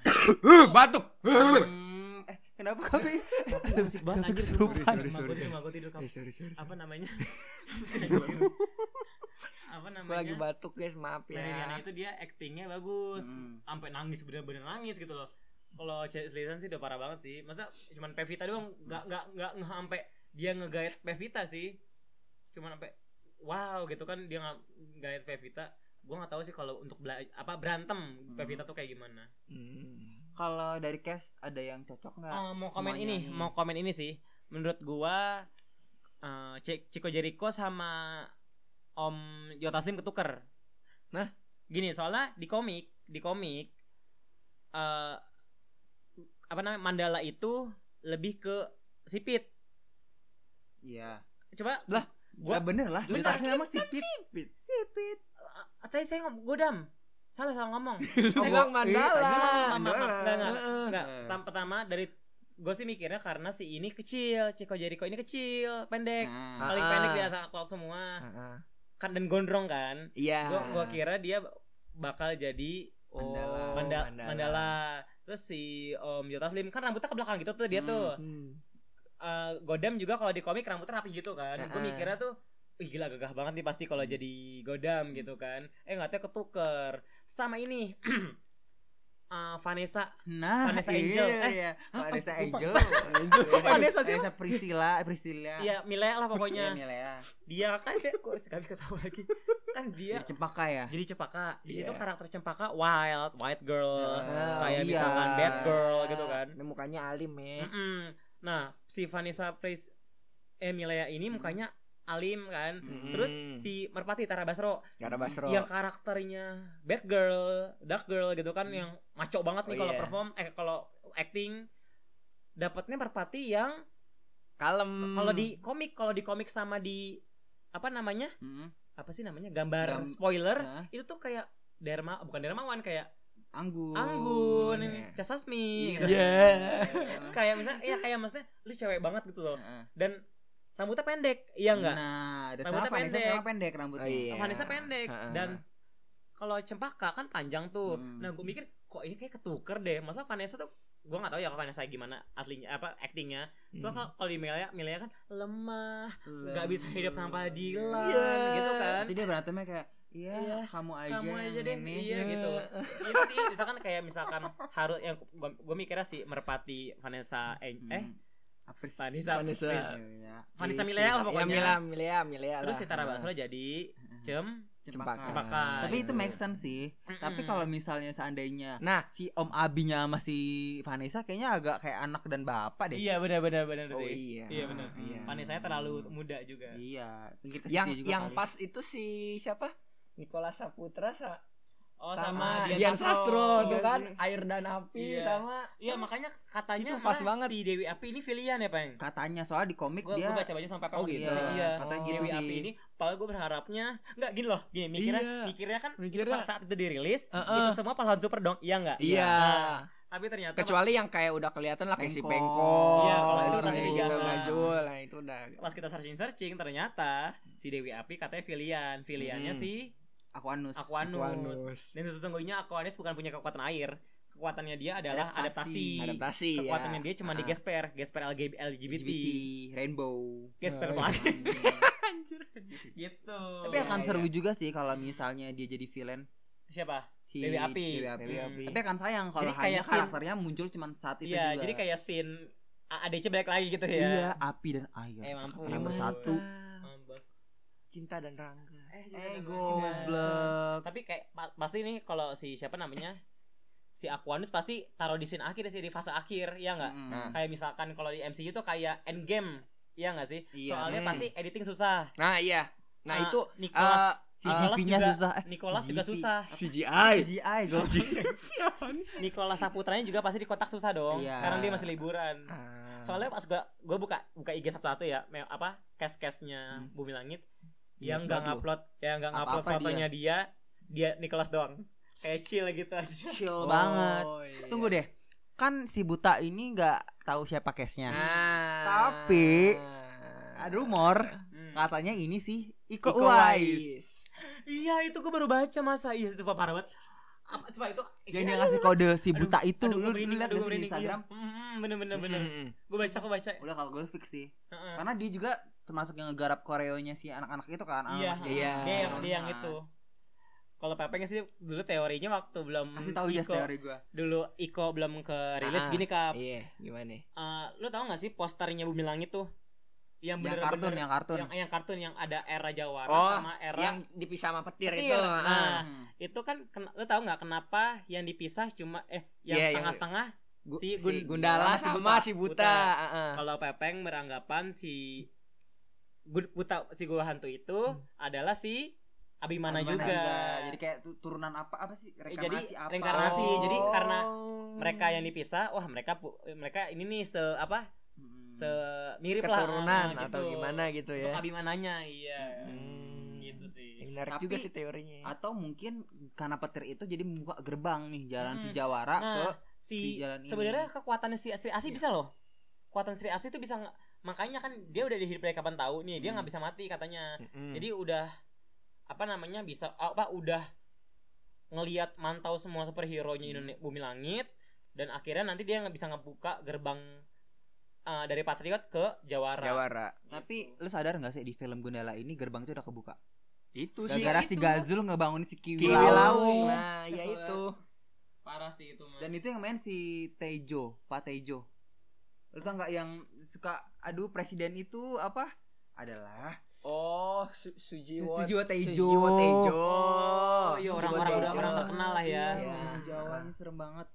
S4: batuk.
S2: Hmm, eh, kenapa kami?
S3: Itu musik banget anjir sumpah.
S4: Sorry,
S3: Cuma
S4: sorry, sorry.
S3: gua cuma gua tidur kamu.
S4: sorry, sorry.
S3: Apa namanya? Apa
S4: Gue lagi
S3: namanya?
S4: batuk guys, maaf ya.
S3: Mary Riana itu dia actingnya bagus.
S2: Hmm.
S3: Sampai nangis bener-bener nangis gitu loh. Kalau Chelsea Island sih udah parah banget sih. Masa cuman Pevita doang nggak nggak nggak nggak sampai dia ngegait Pevita sih. Cuman sampai wow gitu kan dia nggak ngegait Pevita. Gua nggak tahu sih kalau untuk bela- apa berantem Pevita tuh kayak gimana.
S4: Hmm.
S2: Kalau dari cast ada yang cocok nggak?
S3: Eh, mau komen
S2: Semuanya
S3: ini,
S2: nih.
S3: mau komen ini sih. Menurut gua eh, Ci- Chico Jericho sama Om Jota Slim ketuker.
S4: Nah?
S3: gini soalnya di komik, di komik eh apa namanya Mandala itu lebih ke sipit.
S2: Iya.
S3: Coba
S4: Lah,
S2: Gua
S3: Gua-
S2: bener lah.
S3: Bener,
S2: Bener memang sipit. Sipit. Sipit.
S3: Ah, Tadi saya ngomong godam. Salah salah ngomong.
S2: eh,
S4: Pegang mandala.
S3: Mama, mama, enggak, enggak. Enggak,
S2: Heeh.
S3: tam- pertama dari gue sih mikirnya karena si ini kecil, Ciko Jericho ini kecil, pendek.
S2: Nah,
S3: Paling
S4: Ah.
S3: pendek di atas aku semua.
S4: Heeh.
S3: Kan dan gondrong kan.
S4: Iya.
S3: Gue gua kira dia bakal jadi
S4: Oh,
S2: Mandala.
S3: manda- mandala. Terus si Om Jota Slim kan rambutnya ke belakang gitu tuh dia
S2: Hmm.
S3: tuh.
S4: Hmm.
S3: Eh, Godam juga kalau di komik rambutnya rapi gitu kan. Gue
S4: Heeh.
S3: mikirnya tuh Ih gila gagah banget nih pasti kalau jadi Godam gitu kan. Eh nggak tahu ketuker. Sama ini. eh, Vanessa
S2: nah
S3: Vanessa
S2: iya,
S3: Angel. Eh,
S2: Iya. Vanessa
S4: lupa.
S2: Angel.
S3: Vanessa siapa?
S2: Vanessa Priscilla, Priscilla.
S3: Iya,
S2: Ya.
S3: Milea lah
S2: Iya,
S3: pokoknya.
S2: Milea.
S3: dia kan saya kok sekali ketahu lagi. Kan dia
S2: Dari Cempaka ya.
S3: jadi cempaka. Di situ
S4: Iya.
S3: karakter cempaka wild, white girl,
S2: Nah,
S3: kayak
S2: iya.
S3: misalkan bad girl gitu kan.
S4: Ini mukanya alim ya.
S3: Mm-mm. Nah, si Vanessa Pris eh Milea ini mukanya alim kan.
S2: Mm.
S3: Terus si Merpati Tara Basro
S4: Gara Basro.
S3: yang karakternya bad girl, dark girl gitu kan yang maco banget nih
S4: Oh,
S3: kalau
S4: iya.
S3: perform eh kalau acting dapatnya Merpati yang
S4: Kalem.
S3: kalau di komik kalau di komik sama di apa namanya
S2: Mm-mm.
S3: apa sih namanya gambar
S2: Gam-
S3: spoiler
S2: Nah,
S3: itu tuh kayak derma bukan dermawan kayak
S2: Anggun.
S3: anggun
S4: iya.
S3: ini casasmi
S2: Oh, Iya.
S3: gitu.
S2: Iya.
S3: kayak misalnya ya kayak maksudnya lu cewek banget gitu loh
S2: Heeh.
S3: dan rambutnya pendek iya enggak
S2: Nah, dan
S3: Rambutnya
S2: sekarang Vanessa
S3: pendek.
S2: sekarang pendek rambutnya.
S4: Oh, iya.
S3: Vanessa pendek
S4: Heeh.
S3: dan kalau cempaka kan panjang tuh
S2: Hmm.
S3: nah gue mikir kok ini kayak ketuker deh masa Vanessa tuh gue nggak tahu ya kalau Vanessa gimana aslinya apa actingnya
S4: Hmm.
S3: soalnya kalau di Milea Milea kan lemah nggak bisa hidup tanpa Dilan
S2: Iya.
S3: gitu kan
S2: Jadi dia berantemnya kayak Iya,
S3: Iya,
S2: kamu aja,
S3: kamu aja deh
S2: yang ini. Hmm.
S3: iya gitu itu sih misalkan kayak misalkan harus yang gue mikirnya sih merpati Vanessa eh, eh
S2: Hmm. apa sih?
S3: Vanessa
S4: Vanessa.
S3: Vanessa,
S2: Iya.
S3: Vanessa
S4: Iya,
S3: Milea lah
S4: iya,
S3: pokoknya
S4: Milea, Milea, Milea
S3: terus
S4: lah. Hmm.
S3: si Tara
S4: Heeh.
S3: Basro jadi cem
S2: Cempaka.
S3: Cempaka.
S2: Tapi itu
S4: Iya.
S2: make sense sih. Tapi kalau misalnya seandainya
S4: Nah,
S2: si Om Abinya sama si Vanessa kayaknya agak kayak anak dan bapak deh.
S3: iya benar benar benar
S4: oh
S3: sih
S4: iya.
S3: iya benar
S4: Iya.
S3: Vanessa terlalu muda juga
S2: Iya, pinggir ke
S4: yang
S2: situ juga
S4: yang
S2: kali.
S4: pas itu si siapa? Nicola Saputra sa-
S3: oh
S4: sama,
S3: sama, Oh,
S4: Dian Sastro tuh
S2: Iya
S4: kan
S2: sih.
S4: air dan api
S3: Iya.
S4: sama
S3: iya makanya katanya
S4: Kan Itu pas
S3: malah
S4: banget.
S3: si Dewi Api ini filian ya peng
S2: katanya soalnya di komik
S3: gue
S2: dia
S3: baca baca sampai
S4: Oh,
S3: apa
S4: gitu.
S3: iya
S2: Katanya gitu
S3: Dewi
S2: sih.
S3: Api ini padahal gue berharapnya nggak gini loh gini mikirnya
S4: Iya.
S3: mikirnya kan
S4: Mikirnya-
S3: pada saat itu dirilis
S4: Heeh.
S3: itu semua pahlawan super dong iya nggak
S4: Iya.
S3: Nah, tapi ternyata pas,
S4: Kecuali yang kayak udah kelihatan lah kayak si
S2: Pengkok.
S4: Pengkok.
S3: Iya, kalau itu
S4: Lazul,
S3: masih dijaga.
S4: Lazul, nah itu udah.
S3: pas kita searching searching ternyata si Dewi Api katanya filian filiannya
S4: Hmm.
S3: si
S2: Aquanus.
S3: Aquanus.
S4: Wanus.
S3: dan sesungguhnya Aquanus bukan punya kekuatan air kekuatannya dia adalah
S2: Adaptasi.
S3: adaptasi,
S4: Adaptasi ya.
S3: kekuatannya dia cuma di
S4: Ah.
S3: gesper gesper LG- LGBT,
S2: LGBT, Rainbow.
S3: gesper
S4: Oh, iya.
S3: banget
S2: Hmm.
S3: gitu
S2: Tapi
S4: Iya,
S2: akan
S4: iya.
S2: seru juga sih kalau misalnya dia jadi villain
S3: siapa
S2: si
S3: Dewi
S2: Iya.
S3: Api.
S2: Dewi Api.
S4: Dewi
S3: Hmm.
S4: Api.
S2: Tapi akan sayang kalau
S3: Jadi
S2: hanya
S3: kayak scene-
S2: karakternya muncul cuma saat itu
S3: iya
S2: juga.
S3: jadi kayak scene A- ADC balik lagi gitu ya
S2: Iya, api dan air.
S3: Eh, mampu.
S2: Yang
S4: Iya.
S2: bersatu.
S3: Ambas.
S4: Cinta dan Rangga.
S3: Eh,
S2: Eh,
S3: juga.
S2: goblok.
S3: Tapi kayak pa- pasti nih kalau si siapa namanya? si Aquanus pasti taruh di scene akhir sih di fase akhir, ya nggak?
S2: Mm.
S4: Nah.
S3: Kayak misalkan kalau di MCU tuh kayak endgame, ya nggak sih?
S2: Iya.
S3: Soalnya
S4: Hmm.
S3: pasti editing susah.
S4: Nah, iya.
S3: Ah,
S4: Nah, itu eh,
S3: Nicholas, Nicholas
S2: CGV-nya
S3: juga-
S2: susah. Eh,
S3: Nicholas juga
S2: CGV.
S3: susah.
S4: CGI.
S2: CGI goblok.
S3: Nicholas Saputranya juga pasti di kotak susah dong.
S2: Iya.
S3: Sekarang dia masih liburan.
S4: Ah.
S3: Soalnya pas gua gua buka buka IG satu-satu ya, me- apa cast-castnya
S2: Hmm.
S3: Bumi Langit
S4: Iya,
S3: yang nggak
S4: nggak tuh.
S3: ngupload, yang nggak
S2: Apa-apa
S3: ngupload fotonya dia. dia, Nicholas doang. Kayak chill gitu aja.
S2: Chill
S4: Oh,
S2: banget.
S4: iya.
S2: Tunggu deh. Kan si buta ini nggak tahu siapa case-nya.
S4: Nah.
S2: Tapi- Ada rumor
S3: Hmm.
S2: katanya ini sih Iko, Uwais.
S3: Iya itu gue baru baca masa Iya sumpah parah banget Apa sumpah itu Iya.
S2: Yang
S4: Iya,
S2: dia ngasih kode si buta itu
S3: Aduh,
S2: lu,
S3: gua
S2: lu
S3: merinding,
S2: lihat nggak sih
S3: aduh, gua
S2: di
S3: merinding,
S2: Instagram?
S3: iya. Mm, Bener bener bener
S4: Bener.
S3: Gue baca gue baca
S2: Udah kalau gue fix sih.
S3: Heeh.
S2: Karena dia juga termasuk yang ngegarap koreonya si anak-anak itu kan.
S3: Iya
S2: anak-anak
S3: Iya
S4: Iya.
S3: Dia yang,
S2: Nah.
S3: dia yang itu kalau Pepeng sih dulu teorinya waktu belum
S2: Kasih tahu ya
S3: Iko,
S2: teori gue.
S3: dulu Iko belum ke rilis
S4: Ah,
S3: gini kak
S4: Iya, gimana?
S3: Eh, lu tau gak sih posternya Bumi Langit tuh yang
S2: Yang
S3: bener
S2: kartun, yang kartun.
S3: yang, yang kartun yang ada era Jawara
S4: Oh,
S3: sama era
S4: Yang dipisah sama petir
S3: Petir.
S4: itu.
S3: Nah,
S4: ah.
S2: Hmm.
S3: itu kan kena, lu tahu nggak kenapa yang dipisah cuma eh yang
S4: Iya, yang-
S3: setengah-setengah
S4: Gu-
S3: si
S4: si,
S3: Gun-
S4: Gundala
S3: si
S4: sama
S3: Buta.
S4: si
S3: Buta.
S4: Buta. ah, ah.
S3: kalau Pepeng beranggapan si gu- buta si gua hantu itu adalah si Abimana,
S2: Gimana
S3: juga.
S2: Jadi
S3: Jadi,
S2: kayak tu- turunan apa apa sih? Reinkarnasi apa?
S3: reinkarnasi. Jadi karena
S4: Oh.
S3: mereka yang dipisah, wah mereka pu- mereka ini nih se apa?
S2: Hmm.
S3: semirip lah
S4: keturunan
S3: ah,
S4: atau gimana gitu
S3: Untuk
S4: ya
S3: Abimananya iya
S4: Hmm.
S3: gitu sih
S4: menarik
S2: Tapi-
S4: juga sih teorinya
S2: atau mungkin karena petir itu jadi membuka gerbang nih jalan si
S3: Mm.
S2: Jawara ke
S3: nah
S2: si
S3: si
S2: jalan ini.
S3: sebenarnya kekuatannya si Sri Asih bisa loh kekuatan Sri Asih itu bisa nge- makanya kan dia udah dihidup dari kapan tahu nih dia
S4: Hmm.
S3: nggak bisa mati katanya
S4: Mm-mm.
S3: jadi udah apa namanya bisa apa udah ngelihat mantau semua superhero nya Indonesia bumi langit dan akhirnya nanti dia nggak bisa ngebuka gerbang eh, dari Patriot ke Jawara.
S4: Jawara
S2: tapi lu sadar nggak sih di film Gundala ini gerbang itu udah kebuka
S4: itu sih
S2: gara-gara si
S4: itu.
S2: Gazul ngebangun si Kiwi,
S4: Kiwi
S2: Laut.
S4: Laut. nah ya
S3: Kesel.
S4: itu
S3: Parah sih itu mah.
S2: dan itu yang main si Tejo Pak Tejo lu tau nggak yang suka aduh presiden itu apa adalah
S4: oh Su Sujiwo
S2: Sujiwo Tejo
S4: Sujiwo Tejo
S3: Oh, iya
S4: Sujiwo
S3: orang-orang
S4: Tejo.
S3: udah orang terkenal lah ya.
S4: Iya.
S2: Orang Jawanya serem banget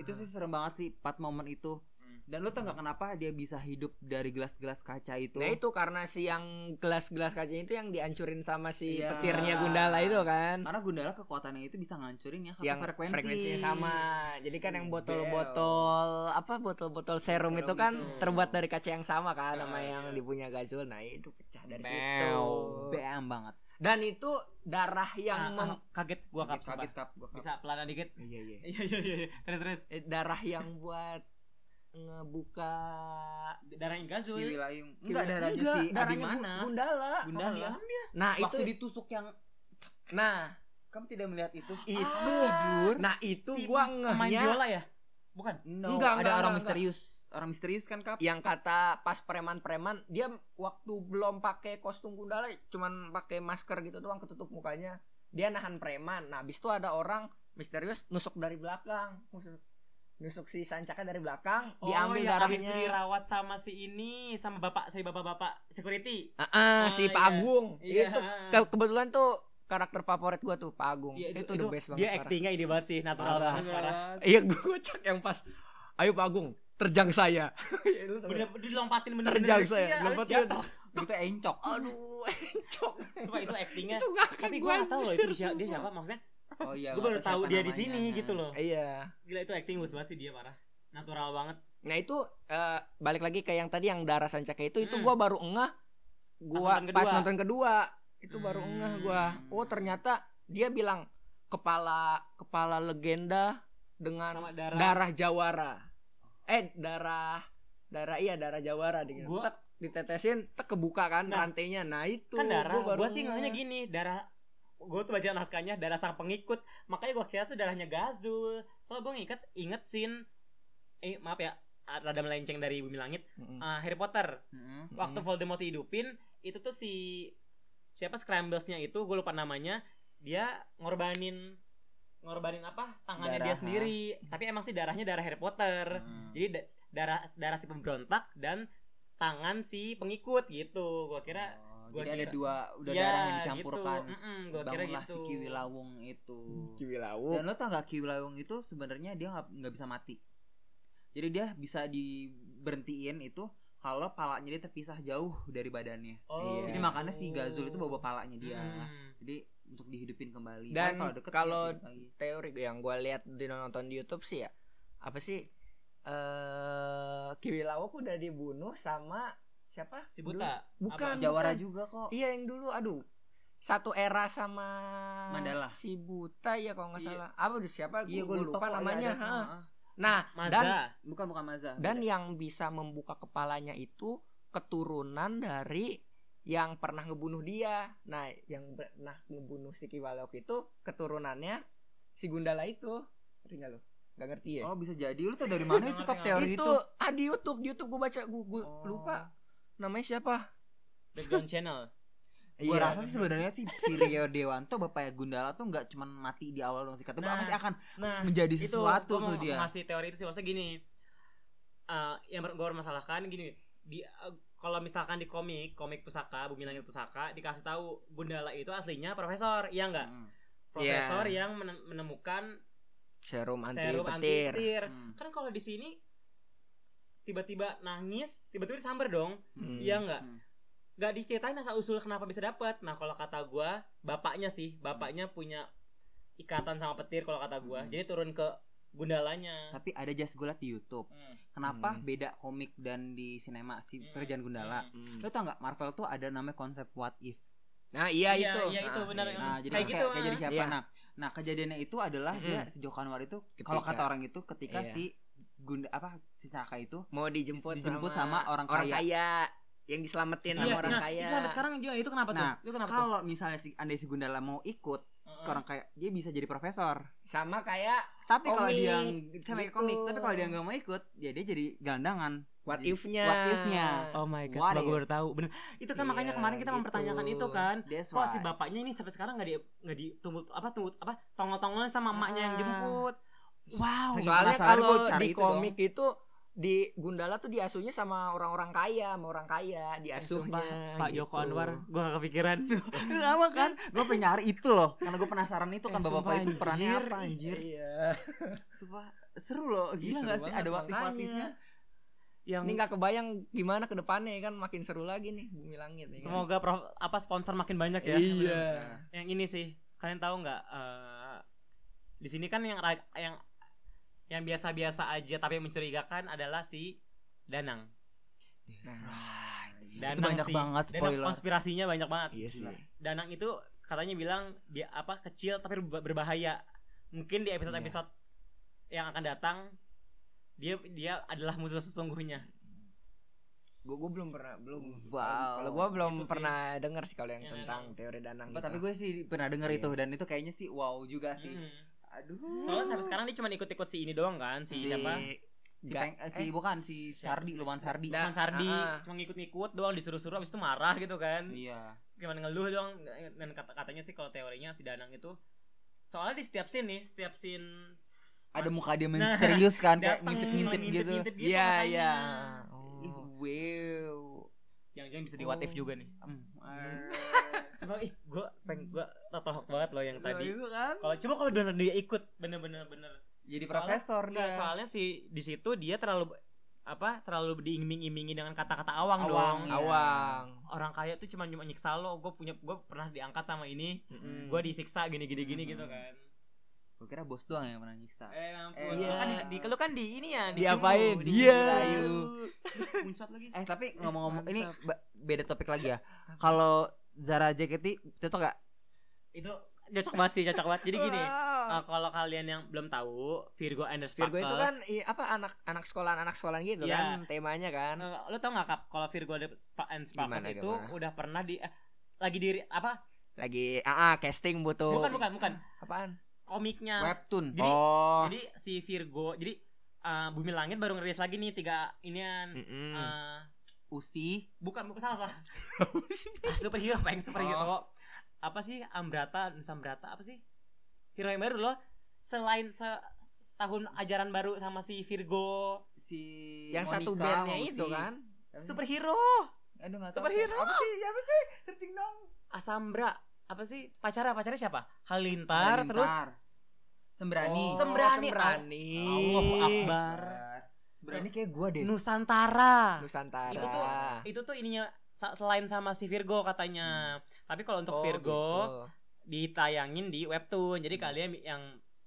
S2: itu sih serem banget sih part momen itu dan lu tau nggak kenapa dia bisa hidup dari gelas-gelas kaca itu
S4: Nah itu karena si yang gelas-gelas kacanya itu yang dihancurin sama si
S2: Iya.
S4: petirnya Gundala itu kan
S2: karena Gundala kekuatannya itu bisa ngancurin yang satu
S4: yang
S2: frekuensi
S4: frekuensinya sama jadi kan yang botol-botol apa botol-botol serum,
S2: Iya. Serum
S4: itu kan
S2: itu.
S4: terbuat dari kaca yang sama kan sama
S3: Ah,
S4: yang
S3: iya.
S4: dipunya Gazul nah itu pecah dari
S3: Bel.
S4: situ
S2: BM banget
S4: dan itu darah
S3: Ah,
S4: yang
S3: ah,
S4: mem-
S3: kaget gua kap
S2: kaget
S3: kaget.
S2: kap gua kap.
S3: Bisa pelan dikit.
S4: Iya, iya.
S3: Iya iya iya. iya. Terus terus
S4: Eh, darah yang buat ngebuka
S3: darahnya
S2: si
S3: Gazul.
S2: Wilayung enggak darahnya
S4: Enggak,
S2: si
S4: darahnya
S2: Abimana
S4: Gu- Gundala
S2: Gundala
S3: Kalian dia.
S4: nah
S2: waktu
S4: itu
S2: ditusuk yang
S4: nah
S2: kamu tidak melihat itu
S4: itu
S2: jujur
S4: nah itu
S3: Ah. Si
S4: gua
S3: Main
S4: ngehnya
S3: biola ya? Bukan.
S2: no
S4: Enggak,
S2: ada
S4: enggak,
S2: orang
S4: enggak,
S2: misterius orang misterius kan kap
S3: Iya,
S4: yang kata pas preman-preman dia waktu belum pakai kostum gundala cuman pakai masker gitu doang ketutup mukanya dia nahan preman nah habis itu ada orang misterius nusuk dari belakang nusuk, nusuk si sancaka dari belakang diambil
S3: yang Oh, iya, habis
S4: darahnya
S3: dirawat sama si ini sama bapak si bapak-bapak security.
S4: Ah, ah,
S3: Ah,
S4: si
S3: iya.
S4: Pak Agung
S3: Iya.
S4: itu ke- kebetulan tuh karakter favorit gua tuh Pak Agung
S3: Iya,
S4: itu, the best banget
S3: Dia
S4: parah.
S3: actingnya ide banget sih, natural
S4: Parah.
S3: banget. parah.
S4: iya gue kocak yang pas ayo Pak Agung terjang saya Ya, lu tau
S3: Bener, Iya,
S4: gak?
S3: dia lompatin bener
S4: terjang saya lempatin.
S2: itu encok
S4: aduh encok
S3: Sumpah itu actingnya.
S4: itu Ya, ngakak
S3: Ya, Tapi
S4: gua
S3: gua gak tahu loh itu dia, dia siapa maksudnya.
S2: oh iya
S3: Gua baru
S2: nggak
S3: tahu
S2: siapa
S3: dia di
S2: namanya. nah.
S3: sini gitu loh.
S4: Iya.
S3: Gila itu acting bagus banget sih dia parah. Natural banget.
S4: Nah itu eh, balik lagi ke yang tadi yang darah sancaka itu itu
S3: Mm.
S4: gua baru ngeh gua
S3: nonton
S4: pas
S3: kedua.
S4: nonton kedua itu baru
S3: Hmm.
S4: ngeh gua. Oh ternyata dia bilang kepala kepala legenda dengan
S3: Sama darah.
S4: darah jawara. Eh darah darah iya darah jawara dengan
S3: Gua-
S4: tek, ditetesin tek kebuka kan
S3: Nah,
S4: rantainya. Nah itu
S3: kan darah.
S4: gua baru
S3: Gua sih ngehnya
S4: ngeh.
S3: gini, darah gue tuh baca naskahnya darah sang pengikut makanya gua kira tuh darahnya Gazul soalnya gue ngikat inget scene eh maaf ya rada melenceng dari bumi langit
S4: Mm-mm.
S3: eh, Harry Potter
S2: Mm-mm.
S3: waktu Voldemort dihidupin itu tuh si siapa Scramblesnya itu gue lupa namanya dia ngorbanin ngorbanin apa tangannya
S2: Darah,
S3: dia sendiri tapi emang sih darahnya darah Harry Potter
S2: Mm.
S3: jadi da- darah darah si pemberontak dan tangan si pengikut gitu gue kira
S2: Oh,
S3: gua
S2: jadi ada
S3: kira-
S2: dua udah darah yang dicampurkan
S3: Ya, gitu. Mm-mm, gua kira
S2: bangunlah
S3: gitu
S2: si Kiwi Lawung itu
S4: Kiwi lauk.
S2: dan lo tau gak Kiwi Lawung itu sebenarnya dia nggak nggak bisa mati jadi dia bisa diberhentiin itu kalau palanya dia terpisah jauh dari badannya
S3: oh,
S4: Iya.
S2: jadi makanya si Gazul itu bawa palanya dia
S3: Hmm.
S2: jadi untuk dihidupin kembali
S4: Dan
S2: Makanya deket
S4: kalau
S2: dia hidup lagi.
S4: teori yang gue lihat di nonton di YouTube sih ya apa sih eh Kiwi Lawak udah dibunuh sama siapa
S3: si buta
S4: Dulu? bukan
S3: Abang.
S2: Jawara
S4: bukan.
S2: juga kok
S4: iya yang dulu aduh satu era sama
S2: Mandala.
S4: si buta ya kalau nggak
S3: Iya.
S4: salah apa tuh siapa
S2: iya
S4: gue
S2: gue
S4: lupa,
S2: kok, iya,
S4: namanya
S2: ada.
S4: ha.
S2: Ha.
S4: nah dan
S3: Maza
S2: bukan bukan Maza
S4: dan iya. yang bisa membuka kepalanya itu keturunan dari yang pernah ngebunuh dia. Nah, yang pernah ngebunuh si Kiwalok itu keturunannya si Gundala itu. Ngerti nggak lo? Nggak ngerti ya?
S2: oh bisa jadi lu tau dari mana itu kap
S3: Nggak
S2: teori
S4: itu,
S2: itu
S4: ah di YouTube, di YouTube gue baca, gue
S2: Oh.
S4: lupa namanya siapa.
S3: background channel
S2: Gua
S4: Iya.
S2: rasa sih sebenarnya sih si Rio Dewanto bapaknya Gundala tuh nggak cuman mati di awal dong sih kata gua
S3: Nah,
S2: pasti akan
S3: nah
S2: menjadi
S3: itu
S2: sesuatu
S3: gua mau
S2: tuh dia
S3: ngasih teori itu sih maksudnya gini eh, yang ber- gua permasalahkan gini di eh, kalau misalkan di komik komik pusaka bumi langit pusaka dikasih tahu Gundala itu aslinya profesor iya enggak
S2: Mm.
S3: profesor
S2: iya.
S3: yang menem- menemukan
S4: Serum anti
S3: serum anti
S4: petir.
S3: petir
S2: Mm.
S3: kan kalau di sini tiba-tiba nangis tiba-tiba disamber dong
S4: Hmm.
S3: iya enggak
S2: Mm.
S3: nggak diceritain asal usul kenapa bisa dapat nah kalau kata gua bapaknya sih bapaknya punya ikatan sama petir kalau kata gua
S2: Hmm.
S3: jadi turun ke Gundalanya.
S2: tapi ada Just Gulat di YouTube
S3: Hmm.
S2: kenapa
S7: Hmm.
S2: beda komik dan di sinema si
S3: Hmm.
S2: kerjaan Gundala
S4: Hmm.
S2: lo tau nggak Marvel tuh ada namanya konsep what if
S4: Nah, iya,
S3: Iya,
S4: itu.
S3: iya, itu,
S4: Ah,
S3: benar.
S4: iya.
S2: nah jadi
S3: Kayak
S2: kayak,
S3: gitu,
S2: kayak jadi
S3: ah.
S2: siapa
S4: Iya.
S2: nah nah kejadiannya itu adalah dia
S4: Mm-mm.
S2: si Joko Anwar itu kalau
S4: Ketika-
S2: kata orang itu ketika
S4: Iya.
S2: si Gunda apa si Caka itu
S4: Mau dijemput,
S2: Dijemput sama orang kaya.
S4: yang diselamatin
S3: Iya,
S4: sama orang
S3: nah,
S4: kaya.
S3: Itu sampai sekarang juga itu kenapa
S2: Nah,
S3: tuh? Itu kenapa tuh? Ah.
S2: kalau misalnya si andai si Gundala mau ikut ke orang kayak dia bisa jadi profesor
S4: Sama kayak
S2: tapi kalau
S4: Komik,
S2: dia ng- sama kayak komik
S4: gitu.
S2: tapi kalau dia nggak mau ikut ya dia jadi gelandangan
S4: what
S2: Jadi,
S4: if-nya.
S2: what if-nya.
S3: Oh my god,
S2: What
S3: semoga
S2: if?
S3: gue baru tahu. Bener. Itu kan makanya
S4: Iya,
S3: kemarin kita
S4: gitu.
S3: mempertanyakan itu kan.
S2: That's
S3: Kok
S2: why.
S3: si bapaknya ini sampai sekarang nggak di nggak ditunggu apa tunggu apa tongol-tongolan sama emaknya yang
S2: Ah.
S3: jemput. Wow.
S4: Soalnya
S2: penasaran,
S4: kalau
S2: gua cari
S4: di
S2: itu dong.
S4: komik itu di Gundala tuh diasuhnya sama orang-orang kaya, sama orang kaya diasuhnya.
S3: Eh, Sumpah, Pak Joko
S4: gitu.
S3: Anwar, gue gak kepikiran.
S2: lama kan gue pengen nyari itu loh karena gue penasaran itu kan
S3: Eh,
S2: bapak bapak
S3: sumpah,
S2: itu perannya
S3: anjir.
S2: apa anjir
S4: Iya.
S2: Sumpah, seru loh
S4: Iya,
S2: gila
S4: seru
S2: nggak sih
S4: banget,
S2: ada waktu
S4: makanya.
S2: aktifnya
S3: Yang
S4: Ini nggak kebayang gimana ke depannya kan makin seru lagi nih Bumi Langit
S2: Iya.
S4: ya. kan?
S3: semoga prof- apa sponsor makin banyak ya.
S4: Iya.
S3: Yang ini sih, kalian tahu nggak? eh, di sini kan yang ra- yang yang biasa-biasa aja tapi mencurigakan adalah si Danang.
S2: Iya.
S4: Nah,
S2: Nah, itu
S3: Danang
S2: banyak
S3: sih.
S2: banget
S3: Danang
S2: spoiler
S3: konspirasinya banyak banget.
S4: Iya sih.
S3: Danang itu katanya bilang dia apa kecil tapi berba- berbahaya. Mungkin di episode-episode
S2: Iya.
S3: yang akan datang dia dia adalah musuh sesungguhnya.
S4: Gue gue belum pernah belum.
S2: Wow.
S4: Kalau gue belum
S3: Itu sih.
S4: pernah dengar sih kalau yang
S3: Yang
S4: tentang teori danang.
S2: Sumpah,
S4: gitu.
S2: tapi gue sih pernah denger
S4: Iya.
S2: itu dan itu kayaknya sih wow juga Iya sih
S3: Mm.
S2: aduh
S3: Soalnya sampai sekarang dia cuma ikut-ikut si ini doang kan, si,
S2: Si-
S3: siapa?
S2: si,
S4: Ga-
S2: Peng- eh, si bukan si
S3: siapa?
S2: Sardi Luman Sardi
S4: Da-
S3: Cuman Sardi,
S4: Ah, ah.
S3: cuma ngikut-ngikut doang disuruh-suruh abis itu marah gitu kan.
S2: iya
S3: Cuman ngeluh doang dan kata katanya sih kalau teorinya si Danang itu soalnya di setiap scene nih, setiap scene
S2: ada muka dia
S3: Nah,
S2: misterius kan kayak
S3: datang
S2: ngintip-ngintip gitu
S3: ngintip-ngintip gitu
S4: Iya
S3: katanya.
S4: iya.
S2: Ih,
S4: Oh.
S2: wow
S3: Jangan-jangan bisa di what
S2: Oh.
S3: if juga nih.
S2: Em, eh.
S3: Sebab ih gua peng gua tertohok banget loh yang
S2: Nah,
S3: tadi.
S2: itu kan
S3: Kalau coba kalau benar dia ikut bener-bener bener.
S2: jadi
S3: Soalnya-
S2: profesor
S3: Enggak,
S2: dia
S3: soalnya si di situ dia terlalu apa? Terlalu diiming-imingi dengan kata-kata awang, dong.
S2: Awang, iya.
S4: Awang.
S3: Orang kaya tuh cuma cuma nyiksa lo. Gue punya gue pernah diangkat sama ini.
S4: Mm-mm.
S3: Gue disiksa gini-gini gini
S2: Mhm.
S3: gitu kan.
S2: gue Hmm. kira bos doang yang pernah nyiksa
S3: Eh, ampun.
S2: Eh,
S3: Lu
S2: iya.
S3: kan di lu kan di ini ya,
S4: Diapain?
S3: Cimbu, di
S4: Iya.
S3: Cimbu.
S2: Muncrat lagi. Eh tapi ngomong-ngomong ini
S4: mantap.
S2: ba- beda topik lagi ya. Kalau Zara JKT cocok gak?
S3: Itu cocok banget sih, cocok banget. Jadi gini, eh, kalau kalian yang belum tahu, Virgo and the
S4: Virgo itu
S3: Sparkles,
S4: kan i- apa anak anak sekolahan anak sekolahan gitu
S3: Iya.
S4: kan temanya kan.
S3: Eh, lo tau gak kap kalau Virgo de- Spa- and Sparkles
S4: Gimana,
S3: itu
S4: gimana?
S3: udah pernah di eh, lagi di apa
S4: Lagi ah, ah, casting butuh.
S3: bukan bukan bukan
S4: Apaan?
S3: komiknya
S2: Webtoon.
S3: Nah, Jadi-
S4: oh.
S3: jadi si Virgo jadi eh, Bumi Langit baru ngerilis lagi nih tiga inian
S4: Mm-mm.
S3: Eh,
S2: Oh, Usi.
S3: bukan bukan salah salah Ah, superhero pengen
S4: Oh.
S3: superhero apa sih Ambrata Nusambrata apa sih hero yang baru loh selain se tahun ajaran baru sama si Virgo
S2: Si
S4: yang satu
S2: Monica
S4: bandnya
S2: sama
S4: itu
S2: Usi.
S4: kan.
S3: superhero
S2: Aduh enggak
S3: Superhero.
S2: Apa sih? Apa sih? Searching dong.
S3: Asambra apa sih pacara pacarnya siapa Halintar, terus
S2: Lintar. Sembrani.
S4: Oh,
S3: Sembrani.
S4: Sembrani.
S3: Allah Oh, Akbar
S2: Sembrani kayak gua deh.
S3: Nusantara
S4: Nusantara.
S3: Itu tuh itu tuh ininya sa- selain sama si Virgo katanya tapi kalau untuk
S4: Oh,
S3: Virgo
S4: gitu.
S3: ditayangin di webtoon
S4: Hmm.
S3: jadi kalian yang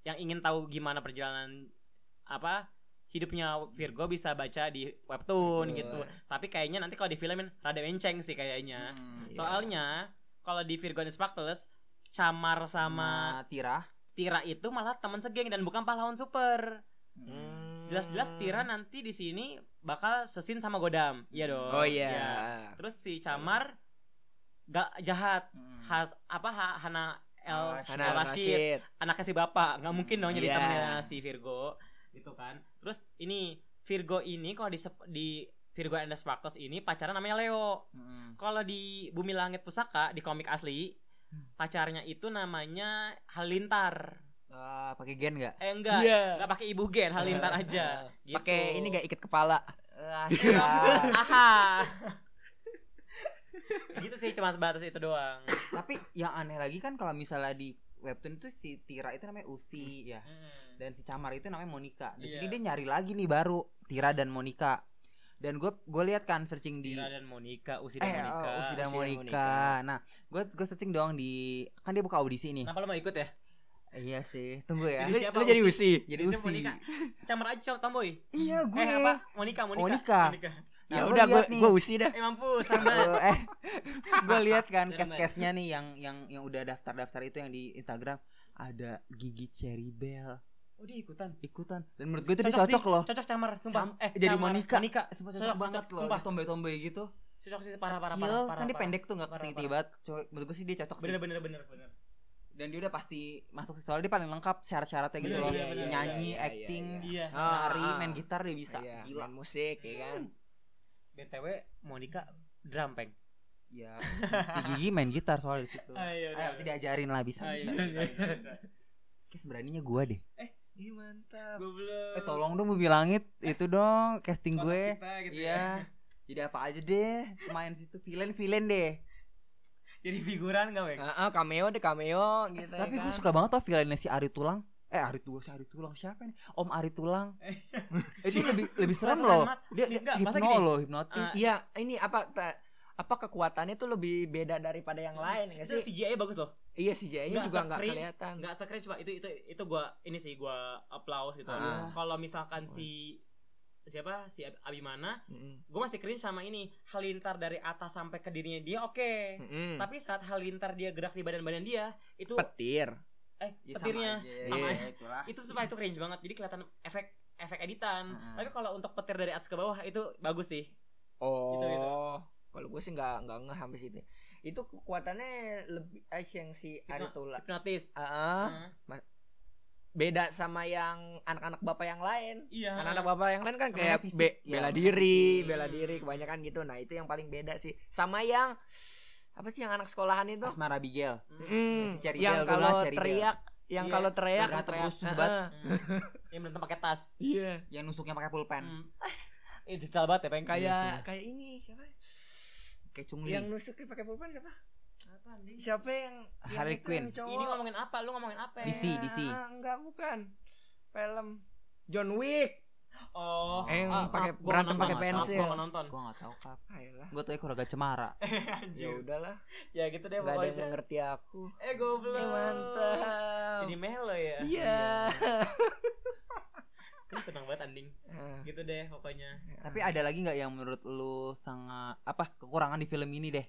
S3: yang ingin tahu gimana perjalanan apa hidupnya Virgo bisa baca di webtoon
S4: Betul.
S3: gitu tapi kayaknya nanti kalau di filmin rada menceng sih kayaknya
S2: Hmm.
S4: Iya.
S3: soalnya kalau di Virgo and the Sparkles Camar sama
S2: Sama Tira.
S3: Tira itu malah teman segeng dan bukan pahlawan super.
S4: Hmm.
S3: Jelas-jelas Tira nanti di sini bakal sesin sama Godam, iya dong.
S4: Oh iya.
S3: Iya. Terus si Camar gak jahat,
S2: Hmm.
S3: khas apa Ha- Hana El
S2: Al-Rashid.
S4: Hana
S3: El Rashid,
S4: Rashid.
S3: anaknya si bapak, nggak mungkin dong jadi
S4: Iya.
S3: temennya si Virgo, gitu kan. Terus ini Virgo ini kalau di sep- di Virgo and the Sparkles ini pacaran namanya Leo.
S2: Hmm.
S3: Kalau di Bumi Langit Pusaka di komik asli pacarnya itu namanya Halintar.
S2: Ah, pakai gen enggak?
S3: Eh enggak,
S4: Iya.
S3: enggak pakai ibu gen, Halintar aja. Gitu.
S4: Pakai ini gak ikat kepala.
S2: Ah,
S3: Aha. gitu sih cuma sebatas itu doang.
S2: Tapi yang aneh lagi kan kalau misalnya di webtoon itu si Tira itu namanya Usi ya.
S3: Mm.
S2: dan si Camar itu namanya Monica. Di sini
S3: Iya.
S2: dia nyari lagi nih baru Tira dan Monica. Dan gue gue lihat kan searching di
S3: Tira dan Monica, Usi
S2: eh
S3: dan
S2: oh, Usi
S3: Monica.
S2: dan
S4: Usi dan
S2: Monica.
S4: Monica.
S2: Nah, gue gue searching doang di kan dia buka audisi nih.
S3: Kenapa lo mau ikut ya?
S2: Iya sih, tunggu ya.
S3: Jadi
S2: Lu-
S3: siapa
S2: lu jadi
S3: Usi?
S2: usi, jadi
S3: Jadi
S2: usi.
S3: siapa Monika? Camar aja sama Tomboy.
S2: Iya gue.
S3: Eh apa? Monika, Monika.
S2: Monika. Nah,
S7: ya
S2: lu
S7: udah gue
S2: lihat nih.
S7: gue usi dah
S3: Eh mampus sama.
S2: Eh, gue lihat kan
S3: Serem,
S2: kes-kesnya nih yang yang yang udah daftar-daftar itu yang di Instagram ada gigi Cherry Bell
S3: Oh dia ikutan.
S2: ikutan dan menurut gue itu dia cocok
S3: sih.
S2: loh.
S3: Cocok Camar, sumpah.
S2: Cam-
S3: eh,
S2: jadi
S3: Camar,
S2: Monika.
S3: Monika.
S2: Sumpah
S3: Cocok,
S2: cocok banget
S3: cocok,
S2: loh.
S3: sumpah.
S2: Tomboy-tomboy gitu.
S3: Cocok sih parah parah
S2: Kecil,
S3: parah.
S2: kan dia
S3: parah.
S2: pendek tuh nggak
S3: Parah,
S2: ketiti
S3: parah.
S2: banget. Cowok, menurut gue sih dia cocok
S3: Bener
S2: sih.
S3: bener bener bener.
S2: Dan dia udah pasti masuk sih soalnya dia paling lengkap syarat-syaratnya gitu
S3: Iya,
S2: loh.
S3: iya, iya,
S2: Nyanyi,
S4: iya, iya,
S2: acting,
S3: Iya.
S4: Ah,
S2: nari, main gitar dia bisa.
S4: Iya,
S2: Gila.
S4: main musik ya kan.
S3: BTW Monika drumpeng.
S2: Ya,
S3: Iya.
S2: si Gigi main gitar soalnya di situ.
S3: Ayo,
S2: Ayo, diajarin lah bisa.
S3: Ah,
S2: bisa,
S3: iya.
S2: bisa. Kayak seberaninya gue deh.
S4: Ih, mantap.
S3: Gue belum.
S2: Eh tolong dong Bumi Langit itu dong casting
S3: Kontak
S2: gue.
S3: kita gitu ya.
S2: Iya. Jadi apa aja deh main situ villain-villain deh.
S3: Jadi figuran gak, Bang?
S4: Heeh, cameo deh cameo gitu
S2: Tapi
S4: ya
S2: gue
S4: kan.
S2: suka banget tau villainnya si Ari Tulang. Eh Ari Tulang si Ari Tulang siapa nih? Om Ari Tulang.
S3: Eh, iya.
S2: itu lebih lebih serem
S3: Perasaan
S2: loh.
S3: mat-
S2: Dia, dia
S3: Enggak, masa
S2: hipno
S3: gini? Ah,
S2: loh, hipnotis.
S4: Iya, ini apa ta- apa kekuatannya tuh lebih beda daripada yang lain enggak
S3: Itu
S4: sih?
S3: CGI bagus loh.
S4: Iya sih nya
S3: Nggak
S4: juga nggak
S3: se-cringe,
S4: kelihatan.
S3: Enggak se-cringe, Pak. Itu itu itu gua ini sih gua applause gitu.
S4: Ah.
S3: Kalau misalkan si siapa si Ab- Abimana,
S4: Mm-mm.
S3: gua masih cringe sama ini Halilintar dari atas sampai ke dirinya dia oke.
S4: Mm-mm.
S3: Tapi saat Halilintar dia gerak di badan badan dia itu
S4: petir.
S3: eh
S2: Ya, sama
S3: petirnya
S2: aja.
S4: Sama
S2: Iya,
S3: aja.
S2: itulah.
S3: itu supaya itu cringe banget. Jadi kelihatan efek efek editan.
S4: Hmm.
S2: Mm-mm.
S3: Tapi kalau untuk petir dari atas ke bawah itu bagus sih.
S4: Oh.
S3: gitu.
S4: Kalau gue sih nggak nggak ngeh habis itu. Itu kekuatannya lebih eh, yang si
S3: Hipno-
S4: Aritula.
S3: Hipnotis.
S4: Heeh.
S3: Nah,
S4: beda sama yang anak-anak bapak yang lain.
S3: iya.
S4: Anak-anak bapak yang lain kan
S2: Namanya
S4: kayak
S2: fisik,
S4: be-
S2: ya,
S4: bela
S2: namanya
S4: diri,
S3: fisik.
S4: bela diri kebanyakan gitu. Nah, itu yang paling beda sih. Sama yang apa sih yang anak sekolahan itu?
S2: Asmara Abigail.
S3: Hmm.
S4: Mm,
S2: si Cherry Bell,
S4: yang
S2: gua
S4: kalau
S2: bilang Cherry Bell.
S4: teriak, yang
S3: Iya,
S4: kalau teriak
S2: berantem
S4: teriak.
S2: rusuh banget.
S4: Heeh.
S3: Hmm. Yang berantem pakai tas.
S4: Iya. kan?
S2: Yang nusuknya pakai pulpen.
S3: Hmm. Eh, detail banget ya, pengen
S4: Kayak kayak ini siapa?
S2: Kayak cungli.
S4: Yang nusuk pakai pulpen siapa? Siapa yang yang
S2: Harley
S4: itu,
S2: Quinn.
S4: yang cowok?
S3: Ini ngomongin apa? Lu ngomongin apa?
S2: Di- DC,
S4: Eh,
S2: DC.
S4: Enggak, bukan. Film John Wick.
S3: Oh,
S4: Eh, yang pakai-
S3: maaf, gua
S4: berantem
S3: nonton,
S2: pakai
S3: maaf,
S4: pensil.
S3: Gua nggak nonton.
S2: Gue gak tau kak.
S4: Ayolah.
S2: Gue tau keluarga cemara.
S4: Ah, Ya udahlah,
S3: Ya gitu deh
S4: enggak ada yang
S3: pokoknya.
S4: mengerti aku.
S3: Eh, goblok.
S4: Eh, mantap.
S3: Jadi melo ya.
S4: Iya.
S3: Kan senang banget anding.
S4: Ah,
S3: Gitu deh pokoknya.
S2: Tapi ada lagi nggak yang menurut lu sangat apa kekurangan di film ini deh?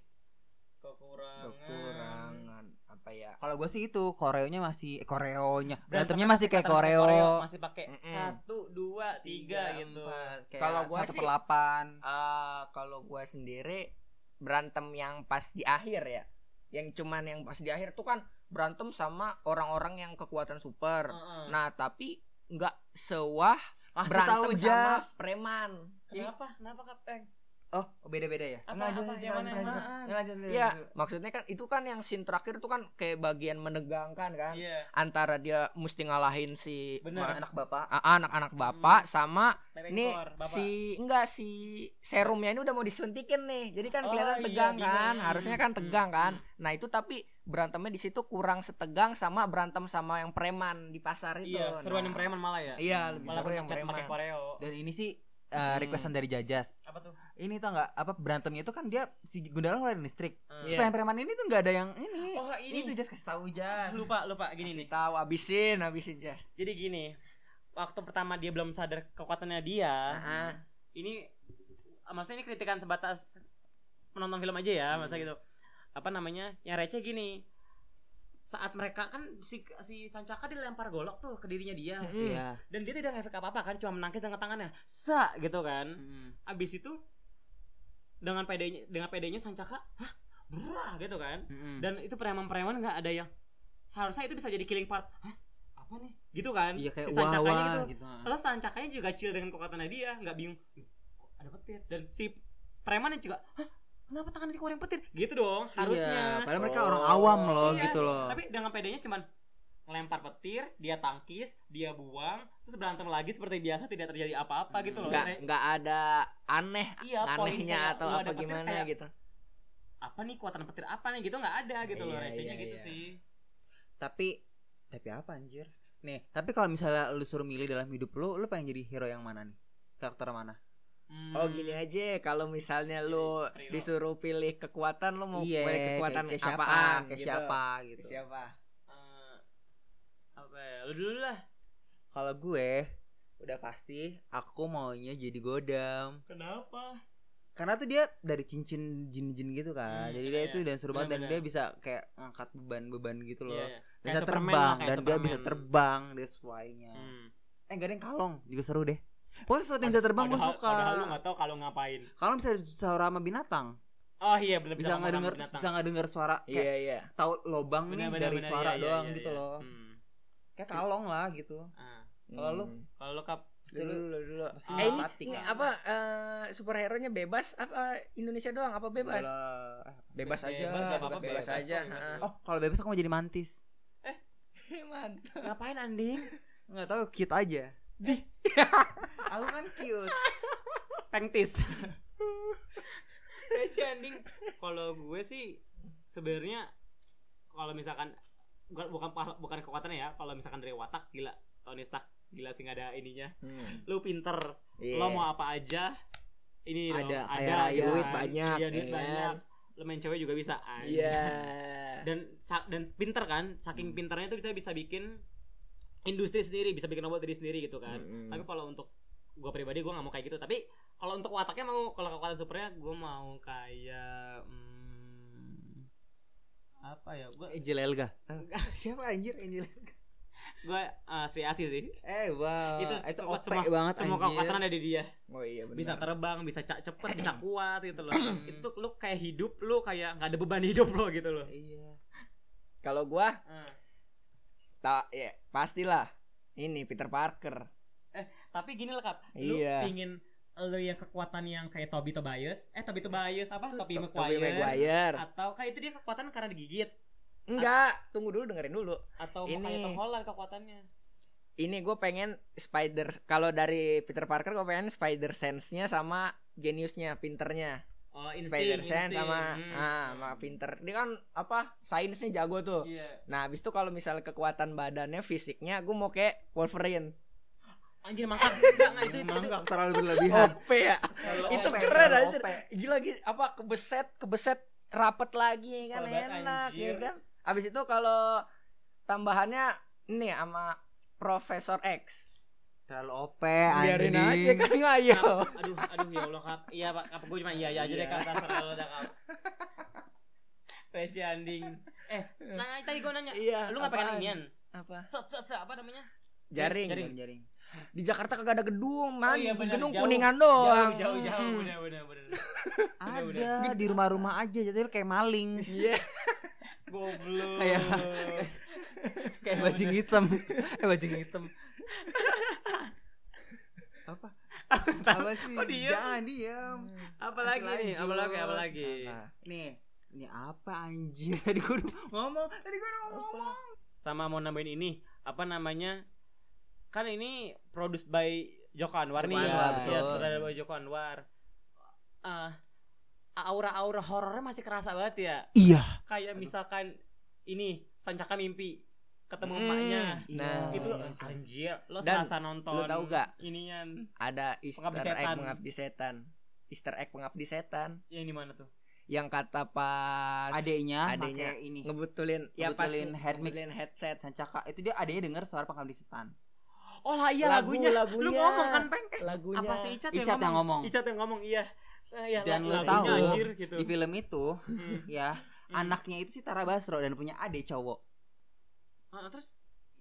S3: Kekurangan.
S4: kekurangan apa ya?
S2: Kalau gue sih itu koreonya masih eh, koreonya
S3: Berantemnya
S2: berantemnya masih kayak
S3: Kata-kata
S2: koreo.
S3: masih pakai
S4: Mm-mm.
S3: satu, dua, tiga
S4: Tiga,
S3: gitu.
S2: Empat, kayak
S4: Kalau gua
S2: satu
S4: sih-
S2: per delapan.
S4: Eh, kalau gua sendiri berantem yang pas di akhir ya. Yang cuman yang pas di akhir tuh kan berantem sama orang-orang yang kekuatan super.
S3: Heeh.
S4: Nah, tapi nggak sewah
S2: Kasih tahu
S4: berantem sama
S2: Jas.
S4: preman.
S3: Kenapa? Kenapa Kapeng?
S2: Oh beda-beda ya?
S3: Apa,
S2: Nggak,
S3: apa?
S2: lanjut, lanjut,
S3: Yang mana, yang
S2: lanjut.
S3: mana?
S2: Nggak, lanjut, lanjut,
S4: Iya,
S2: lanjut.
S4: maksudnya kan itu kan yang scene terakhir tuh kan kayak bagian menegangkan kan.
S3: Iya.
S4: Antara dia mesti ngalahin si
S3: Bener. Hmm.
S4: ma-
S2: Anak bapak.
S4: a- anak-anak bapak sama
S3: Pepeng
S4: ini
S3: Kor, Bapak.
S4: si enggak si serumnya ini udah mau disuntikin nih. Jadi kan
S3: Oh,
S4: kelihatan
S3: iya,
S4: tegang
S3: bingung.
S4: kan.
S3: Hmm,
S4: Harusnya kan
S3: hmm,
S4: tegang kan.
S3: hmm.
S4: Nah, itu tapi berantemnya di situ kurang setegang sama berantem sama yang preman di pasar itu.
S3: Iya, seruan
S4: Nah,
S3: yang preman malah ya.
S4: Iya, lebih
S3: Malah
S4: seru yang
S3: pencet
S4: preman.
S3: pakai koreo.
S2: Dan ini sih eh,
S4: Hmm.
S2: requestan dari Jajas.
S3: Apa tuh?
S2: Ini tau nggak apa berantemnya itu kan dia si Gundala ngeluarin listrik.
S3: Eh,
S4: Iya.
S2: Supaya preman ini tuh nggak ada yang ini.
S3: Oh, ini.
S2: Itu Jas kasih tahu
S4: Hmm.
S2: Jas.
S3: Lupa, lupa gini nih. Ah,
S4: Kasih tahu habisin, habisin Jas.
S3: Jadi gini, waktu pertama dia belum sadar kekuatannya dia,
S4: Heeh.
S3: ini maksudnya ini kritikan sebatas menonton film aja ya,
S2: Hmm.
S3: maksudnya gitu. Apa namanya? Yang receh gini. Saat mereka kan si si Sancaka dilempar golok tuh ke dirinya dia.
S2: Iya.
S3: Dan dia tidak ngefek apa-apa kan, cuma menangkis dengan tangannya. Sa gitu
S4: Hmm.
S3: kan.
S2: Mm.
S3: Abis itu dengan pedenya dengan pedenya Sancaka, hah, berah gitu kan.
S2: Mm-mm.
S3: Dan itu preman-preman nggak ada yang seharusnya itu bisa jadi killing part. Hah? Apa nih? Gitu kan.
S2: Iya kayak
S3: Si
S2: wah
S3: Sancakanya
S2: wah
S3: gitu.
S2: gitu.
S3: Terus tancaknya juga chill dengan kekuatannya dia, nggak bingung. "Ih, kok Ada petir dan si preman yang juga, "Hah? Kenapa tangan dikeluarin petir?" Gitu dong,
S2: Iya,
S3: harusnya.
S2: padahal mereka
S4: Oh.
S2: orang awam loh
S3: Iya,
S2: gitu loh.
S3: Tapi dengan pedenya cuman ngelempar petir, dia tangkis, dia buang, terus berantem lagi seperti biasa tidak terjadi apa-apa gitu loh.
S4: nggak
S3: Kayak,
S4: nggak ada aneh
S3: Iya, poinnya
S4: anehnya atau
S3: lu ada
S4: apa
S3: petir
S4: gimana
S3: kayak-
S4: gitu
S3: apa nih kekuatan petir apa nih gitu nggak ada gitu loh
S4: Iya,
S3: recehnya
S4: iya,
S3: gitu
S4: iya.
S3: sih.
S2: Tapi tapi apa anjir? Nih, tapi kalau misalnya lu suruh milih dalam hidup lu, lu pengen jadi hero yang mana nih? Karakter mana?
S3: Hmm. Iya,
S4: oh
S2: ya.
S4: gini aja kalau misalnya lu
S3: Superhero.
S4: disuruh pilih kekuatan lu mau
S2: Iya,
S4: pilih kekuatan gitu.
S2: kayak, kayak siapa?
S4: apaan
S2: Kayak
S4: gitu.
S2: siapa gitu.
S4: Ke siapa
S3: Eh, lu dulu lah.
S2: Kalau gue udah pasti aku maunya jadi godam. Gitu
S3: Kenapa?
S2: Karena tuh dia dari cincin jin-jin gitu kan.
S3: Hmm,
S2: jadi
S3: iya,
S2: dia
S3: iya.
S2: itu dan seru banget dan
S3: Benar-benar.
S2: dia bisa kayak ngangkat beban-beban gitu loh.
S3: Iya, iya.
S2: Dan
S7: Kayak
S2: Bisa
S7: Superman
S2: terbang
S7: lah, kayak
S2: dan dia bisa
S7: Superman.
S2: terbang that's why-nya.
S3: Hmm.
S2: Eh gak ada yang kalong juga seru deh. Pokoknya sesuatu yang bisa terbang gue
S3: Padahal-
S2: suka.
S3: Padahal lu gak tau kalau ngapain.
S2: Kalau bisa suara sama binatang,
S3: Oh iya bener
S2: bisa nggak denger, bisa nggak denger suara kayak
S4: Iya iya.
S2: tahu lobang nih dari
S3: Iya,
S2: suara doang gitu loh.
S3: Hmm.
S2: Kayak kalong lah gitu.
S3: Ah.
S2: Kalau lu?
S4: Hmm.
S3: Kalau lu kap
S4: dulu dulu dulu.
S2: Pasti
S4: Eh, ini,
S2: mati
S4: ini
S3: Nah,
S2: kan.
S4: apa eh, superhero-nya bebas apa Indonesia doang apa bebas?
S2: Bola- eh,
S4: Bebas aja.
S3: Bebas, nggak apa-apa, bebas.
S4: bebas aja.
S3: Bebas,
S4: heeh.
S2: Oh, kalau bebas aku mau jadi mantis.
S4: Mantap.
S2: Ngapain Anding? Nggak tahu cute aja. Di. aku kan cute.
S7: Pengtis.
S3: Receh anjing. Kalau gue sih sebenarnya kalau misalkan bukan bukan bukan kekuatannya ya, kalau misalkan dari watak gila Tony Stark gila sih nggak ada ininya.
S4: Hmm.
S3: Lu pinter,
S4: Iya.
S3: lo mau apa aja ini dong,
S2: Ada, kaya
S3: ada
S2: raya.
S3: kan.
S4: Duit banyak,
S3: Iya, duit
S4: ya kan?
S3: banyak. Lo main cewek juga bisa anjing.
S4: Iya.
S3: Dan sa- dan pinter kan, saking pinternya itu kita bisa bikin industri sendiri, bisa bikin obat diri sendiri gitu kan.
S2: Hmm.
S4: Mm-mm.
S3: tapi kalau untuk gue pribadi gue nggak mau kayak gitu tapi kalau untuk wataknya mau kalau kekuatan supernya gue mau kayak hmm, apa ya gue
S2: Angel Elga. Eh, Siapa anjir Angel? Elga?
S3: gue Sri Asi sih
S2: Eh, wow. Itu,
S3: itu,
S2: itu OP
S3: kekuat- semua,
S2: banget
S3: semua
S2: anjir.
S3: kekuatan ada di dia
S4: Oh iya benar.
S3: bisa terbang bisa ca- cepet bisa kuat gitu loh itu lu kayak hidup lu kayak nggak ada beban hidup lo gitu loh
S2: Iya.
S4: Kalau gua
S3: Ah.
S4: tak ya pastilah ini Peter Parker.
S3: tapi gini lah kap lu
S4: Iya.
S3: pingin lu yang kekuatan yang kayak Toby Tobias eh Toby Tobias apa Toby
S4: To-
S3: Maguire,
S4: Tobey Maguire.
S3: atau kan itu dia kekuatan karena digigit
S4: Enggak, tunggu dulu dengerin dulu.
S3: atau
S4: Ini.
S3: mau kayak Tom Holland kekuatannya
S4: Ini gue pengen Spider kalau dari Peter Parker gue pengen Spider sense-nya sama geniusnya, pinternya.
S3: Oh,
S4: Spider sense sama
S3: Hmm.
S4: ah, sama pinter. Dia kan apa? Sainsnya jago tuh.
S3: Iya.
S4: Nah, habis itu kalau misalnya kekuatan badannya, fisiknya gue mau kayak Wolverine.
S3: Anjir mangkak. Enggak, enggak, Nah, itu
S2: Itu
S3: itu. itu. Oh,
S2: mangkak terlalu
S3: Iya.
S2: berlebihan.
S4: OP ya. itu
S2: OP,
S4: keren
S2: terlalu
S4: aja.
S2: OP.
S4: Gila gitu apa kebeset, kebeset rapet lagi ya kan
S3: Kesel banget,
S4: enak ya
S3: anjir.
S4: kan. Habis itu kalau tambahannya ini ya, sama Profesor X.
S2: Terlalu OP
S3: Eh,
S4: Biarin aja
S2: anjing.
S4: kan ngayal.
S3: Kap, Aduh, aduh ya Allah, Kap. Iya, Pak. Kap, gue cuma iya iya aja deh, Kap. Terserah lo dah, Kap. Receh anjing. Eh, nanya tadi gue nanya.
S4: Iya,
S3: Lu enggak pengen
S4: apaan?
S3: inian?
S4: Apa?
S3: Set set set apa namanya?
S4: Jaring.
S3: Jaring.
S2: Jaring.
S4: Di Jakarta kagak ada gedung, man.
S3: iya, benar,
S4: gedung
S3: jauh.
S4: kuningan doang.
S3: Jauh, jauh, jauh.
S4: Hmm.
S3: Benar, benar, benar.
S2: Ada di rumah-rumah aja jadi lu kayak maling. Iya.
S3: Goblok.
S2: Kayak- kayak bajing hitam. eh bajing hitam. Apa? Apa sih?
S3: Kok diem?
S2: Jangan diam.
S3: apa lagi nih? Apa lagi? Apa lagi?
S2: Nah,
S4: Apa?
S2: Nih, ini apa anjir? Tadi gue udah ngomong, tadi gue udah ngomong.
S3: Sama mau nambahin ini, apa namanya? Kan ini produced by Joko Anwar nih.
S4: Joko Anwar,
S3: Iya,
S2: betul.
S3: sutradara by Joko Anwar. Ah, aura-aura horornya masih kerasa banget ya.
S2: Iya.
S3: Kayak misalkan ini Sancaka mimpi ketemu
S4: Hmm.
S3: emaknya.
S2: Iya.
S4: Nah,
S3: Itu
S4: iya, iya.
S3: anjir, lo
S4: Dan,
S3: serasa nonton.
S4: lo tahu gak?
S3: Inian
S4: Ada Easter
S3: Pengabdi
S4: egg
S3: setan.
S4: pengabdi setan. Easter egg pengabdi setan
S3: yang di mana tuh?
S4: yang kata pas
S2: Adeknya,
S4: adeknya
S2: pakai ini.
S4: ngebetulin ya pas
S2: Ngebetulin head mic.
S4: ngebetulin headset
S2: Sancaka itu dia adanya dengar suara pengabdi setan.
S3: Oh lah iya
S4: Lagu-
S3: lagunya. Lu
S4: lagunya.
S3: ngomong kan peng?
S4: lagunya
S3: Apa sih Icat, ya,
S2: Icat yang ngomong.
S3: Icat yang ngomong iya. Ah, iya,
S2: Dan lo
S3: la- lagunya
S2: tahu,
S3: anjir gitu.
S2: Di film itu,
S3: Hmm.
S2: ya, anaknya itu si Tara Basro dan punya adik cowok.
S3: Ah, terus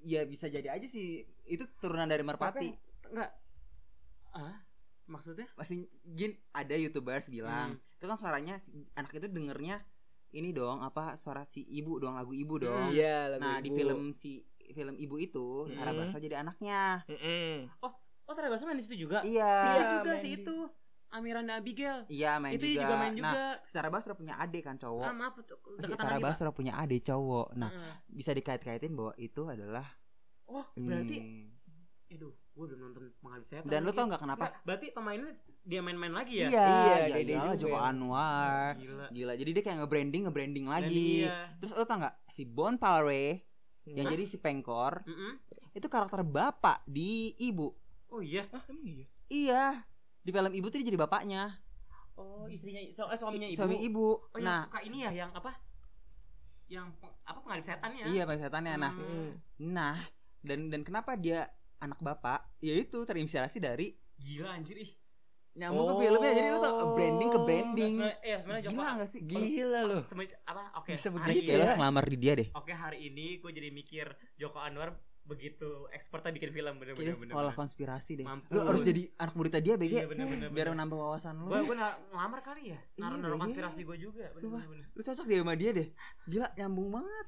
S2: Ya bisa jadi aja sih itu turunan dari Merpati.
S3: Enggak. Ah, maksudnya?
S2: Pasti gin ada YouTubers bilang, itu kan suaranya si- anak itu dengernya ini dong apa suara si ibu dong lagu ibu dong.
S4: iya lagu
S2: Nah, di
S4: ibu.
S2: film si film ibu itu Tara
S4: Hmm.
S2: Basro jadi anaknya.
S4: Mm-mm.
S3: Oh, Tara Basro main di situ juga.
S2: Iya.
S3: Si
S4: Iya,
S3: itu juga
S4: main
S3: si
S4: di-
S3: itu. Amiranda Abigail.
S2: Iya main
S3: itu juga. main
S2: Nah,
S3: juga.
S2: si Tara Basro punya adik kan
S3: ah,
S2: cowok.
S3: maaf
S2: si
S3: dekat
S2: Tara
S3: tangan
S2: Basro punya adik cowok. Nah,
S3: Heeh.
S2: bisa dikait-kaitin bahwa itu adalah
S3: Oh, berarti
S2: Hmm.
S3: aduh, gua belum nonton pengabdi setan.
S2: Dan lu
S3: lagi.
S2: tau nggak kenapa?
S3: Nggak, berarti pemainnya dia main-main lagi ya?
S2: Iya,
S4: Iya,
S2: iya,
S4: Dede
S2: iyalah,
S4: juga.
S2: Joko Anwar.
S3: Gila.
S2: Gila, jadi dia kayak nge-branding, nge-branding lagi.
S3: Iya.
S2: Terus lu tau nggak si Bon Palre yang jadi si Pengkor
S3: Mm-mm.
S2: itu karakter bapak di ibu.
S3: Oh iya.
S2: Iya, di film ibu tuh dia jadi bapaknya.
S3: Oh, istrinya so, eh,
S2: Si-
S3: suaminya ibu.
S2: Suami ibu.
S3: Oh,
S2: nah,
S3: yang suka ini ya yang apa? ya? Yang pe- apa pengabdi setannya?
S2: iya bang setannya. Nah,
S3: Hmm.
S2: nah dan dan kenapa dia anak bapak yaitu terinspirasi dari
S3: Gila anjir ih.
S2: nyambung ke filmnya jadi lu tau
S7: Oh.
S2: branding ke branding
S3: Sebenarnya- Eh, sebenarnya Joko.
S2: gila gak sih gila
S7: Gila loh.
S3: Semen- apa? Oke.
S7: Bisa
S3: hari
S2: jadi
S7: begitu
S3: ini-
S2: kayak lu harus ngelamar di dia deh
S3: Oke, hari ini gue jadi mikir Joko Anwar begitu ekspertnya bikin film
S2: kayaknya
S3: bener-bener.
S2: sekolah konspirasi deh
S3: Mampus.
S2: lu harus jadi anak muridnya dia
S3: Iya,
S2: BG
S3: bener-bener.
S2: biar menambah wawasan lu
S3: Gue gue ngelamar kali ya.
S2: Iya,
S3: Naruh-naruh
S2: iya.
S3: konspirasi gue juga. bener,
S2: Sumpah.
S3: bener, bener.
S2: lu cocok deh sama dia deh gila nyambung banget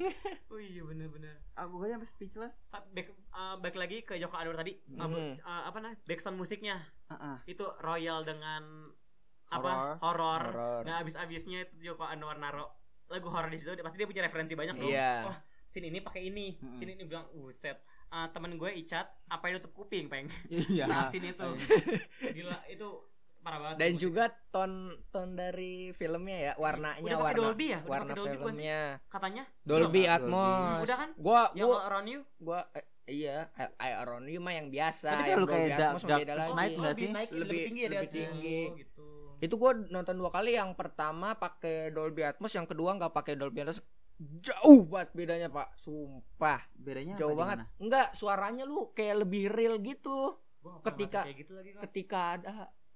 S3: Oh iya bener-bener.
S2: aku aja sampai Ah, speechless
S3: Ta- Back, eh, back lagi ke Joko Anwar tadi. Eh,
S7: Hmm.
S3: eh, apa nah? Backsound musiknya
S2: Ah, ah.
S3: itu royal dengan
S2: Horor.
S3: apa? Horor.
S7: Horor.
S3: Nah, abis-abisnya itu Joko Anwar naro lagu horor di situ. dia- Pasti dia punya referensi banyak dong.
S7: Iya.
S3: Wah, sini ini pakai ini,
S2: Mm-mm.
S3: sini ini bilang uset. Eh, temen gue Icat, apa yang tutup kuping, peng?
S2: iya
S3: Saat sini itu. Gila, itu parah banget.
S7: Dan
S3: sih musik.
S4: juga ton ton dari filmnya ya warnanya
S3: udah pakai
S4: warna
S3: Dolby ya? Udah
S4: warna
S3: pakai Dolby bukan sih?
S4: filmnya
S3: katanya
S4: Dolby
S2: Dolby.
S4: Atmos
S3: Udah kan?
S4: gua
S3: yang
S4: gua
S3: All around you
S4: gua eh, iya I- I Iron You mah yang biasa
S2: Tapi
S4: yang
S2: kalau kayak
S4: Dolby
S2: Dark-
S4: Atmos
S2: Dark
S4: beda
S2: Knight
S4: lagi.
S2: Naik nggak
S3: oh, lebih
S2: sih?
S3: naik, lebih,
S4: Lebih-
S3: tinggi ya dia
S4: lebih
S3: tuh.
S4: tinggi.
S3: gitu
S4: itu gua nonton dua kali yang pertama pakai Dolby Atmos yang kedua nggak pakai Dolby Atmos jauh banget bedanya pak sumpah
S2: bedanya
S4: jauh
S2: apa,
S4: banget
S2: gimana?
S4: enggak suaranya lu kayak lebih real gitu
S3: Gua nggak pernah
S4: Ketika-
S3: kayak gitu lagi kan
S4: ketika ada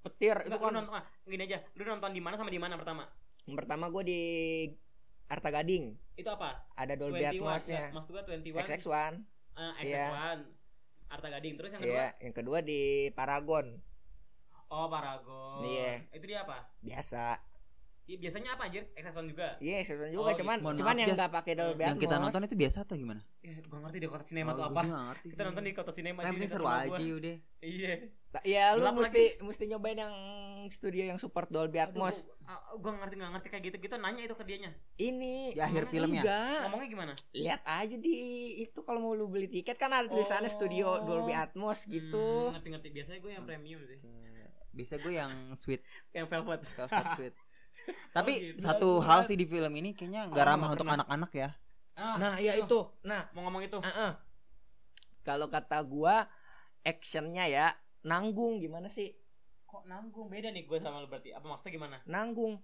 S4: petir itu
S3: itu
S4: kan
S3: nonton ah, gini aja lu nonton di mana sama di mana pertama
S4: yang pertama gua di Arta Gading
S3: itu apa
S4: ada Dolby
S3: ya
S4: Atmosnya
S3: maksud gua eh, 21 XX1
S4: XX1
S3: Arta Gading terus yang kedua
S4: Iya, yang kedua di Paragon
S3: oh Paragon
S4: Iya.
S3: itu dia apa
S4: biasa.
S3: Iya, biasanya apa anjir XX1 juga
S4: Iya, sebenarnya juga
S3: Oh,
S4: cuman
S2: gitu. Mohon
S4: cuman
S2: maaf,
S4: yang
S2: Jas.
S4: nggak pakai Dolby Atmos.
S2: yang kita nonton itu biasa atau gimana
S3: ya, gua ngerti di kota sinema
S2: Oh,
S3: tuh
S2: gua
S3: apa
S2: juga nggak ngerti
S3: kita
S2: sih.
S3: nonton di kota sinema
S2: Nah, yang
S3: jadi
S2: penting
S3: kita
S2: seru
S3: sama
S2: aja
S3: gua.
S2: udah
S3: iya
S4: Ya lu
S3: Gelap
S4: mesti mesti nyobain yang studio yang support Dolby
S3: Aduh, gua,
S4: Atmos.
S3: ah, gua ngerti nggak ngerti kayak gitu gitu nanya itu ke dianya
S4: Ini
S2: Di akhir
S4: ngomongnya
S2: filmnya?
S4: enggak.
S3: ngomongnya gimana
S4: Lihat aja di itu kalau mau lu beli tiket kan ada tulisannya
S3: Oh.
S4: studio Dolby Atmos gitu.
S3: Hmm, ngerti-ngerti biasanya gue yang premium sih
S2: bisa gue yang sweet
S3: yang velvet
S2: velvet sweet tapi
S3: Oh, gitu.
S2: satu
S3: Aku
S2: hal
S3: kan-
S2: sih di film ini kayaknya
S3: Aku
S2: nggak
S3: nggak
S2: ramah untuk
S3: pernah.
S2: anak-anak ya
S3: ah
S4: Nah, ya itu. Nah,
S3: mau ngomong itu
S4: eh, eh. kalau kata gua actionnya ya nanggung gimana sih?
S3: kok nanggung beda nih gue sama lu berarti apa maksudnya gimana
S4: Nanggung.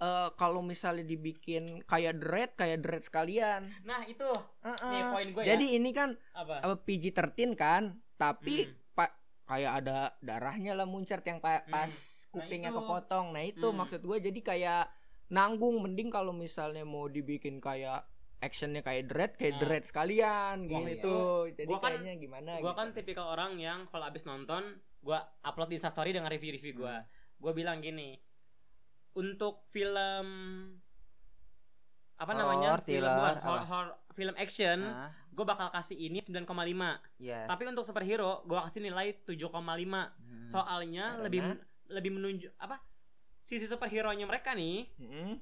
S4: Eh, kalau misalnya dibikin kayak dread kayak dread sekalian.
S3: nah itu
S4: Eh, eh.
S3: nih poin gue
S4: Jadi
S3: ya
S4: ini kan
S3: apa
S4: apa PG-13 kan, tapi
S3: Hmm.
S4: pak kayak ada darahnya lah muncrat yang pa-
S3: Hmm.
S4: pas
S3: Nah,
S4: kupingnya
S3: itu.
S4: kepotong. Nah, itu
S3: Hmm.
S4: maksud gue jadi kayak nanggung mending kalau misalnya mau dibikin kayak actionnya kayak dread kayak
S3: Nah.
S4: dread sekalian
S3: Gua
S4: gitu. Jadi
S3: gua kan-
S4: kayaknya gimana
S2: Nah,
S3: gue
S4: gitu.
S3: kan tipikal orang yang kalau abis nonton gue upload di instastory dengan review-review gue
S2: Hmm.
S3: gue bilang gini untuk film apa
S2: Horor,
S3: namanya film
S2: thriller,
S3: bukan,
S2: apa?
S3: hor- hor- film action
S2: nah,
S3: gue bakal kasih ini 9,5
S2: yes.
S3: Kan? tapi kan untuk superhero gue kasih nilai 7,5
S2: Hmm.
S3: soalnya
S4: Karena?
S3: lebih lebih menunjuk apa sisi superhero nya mereka nih
S4: Mm-mm.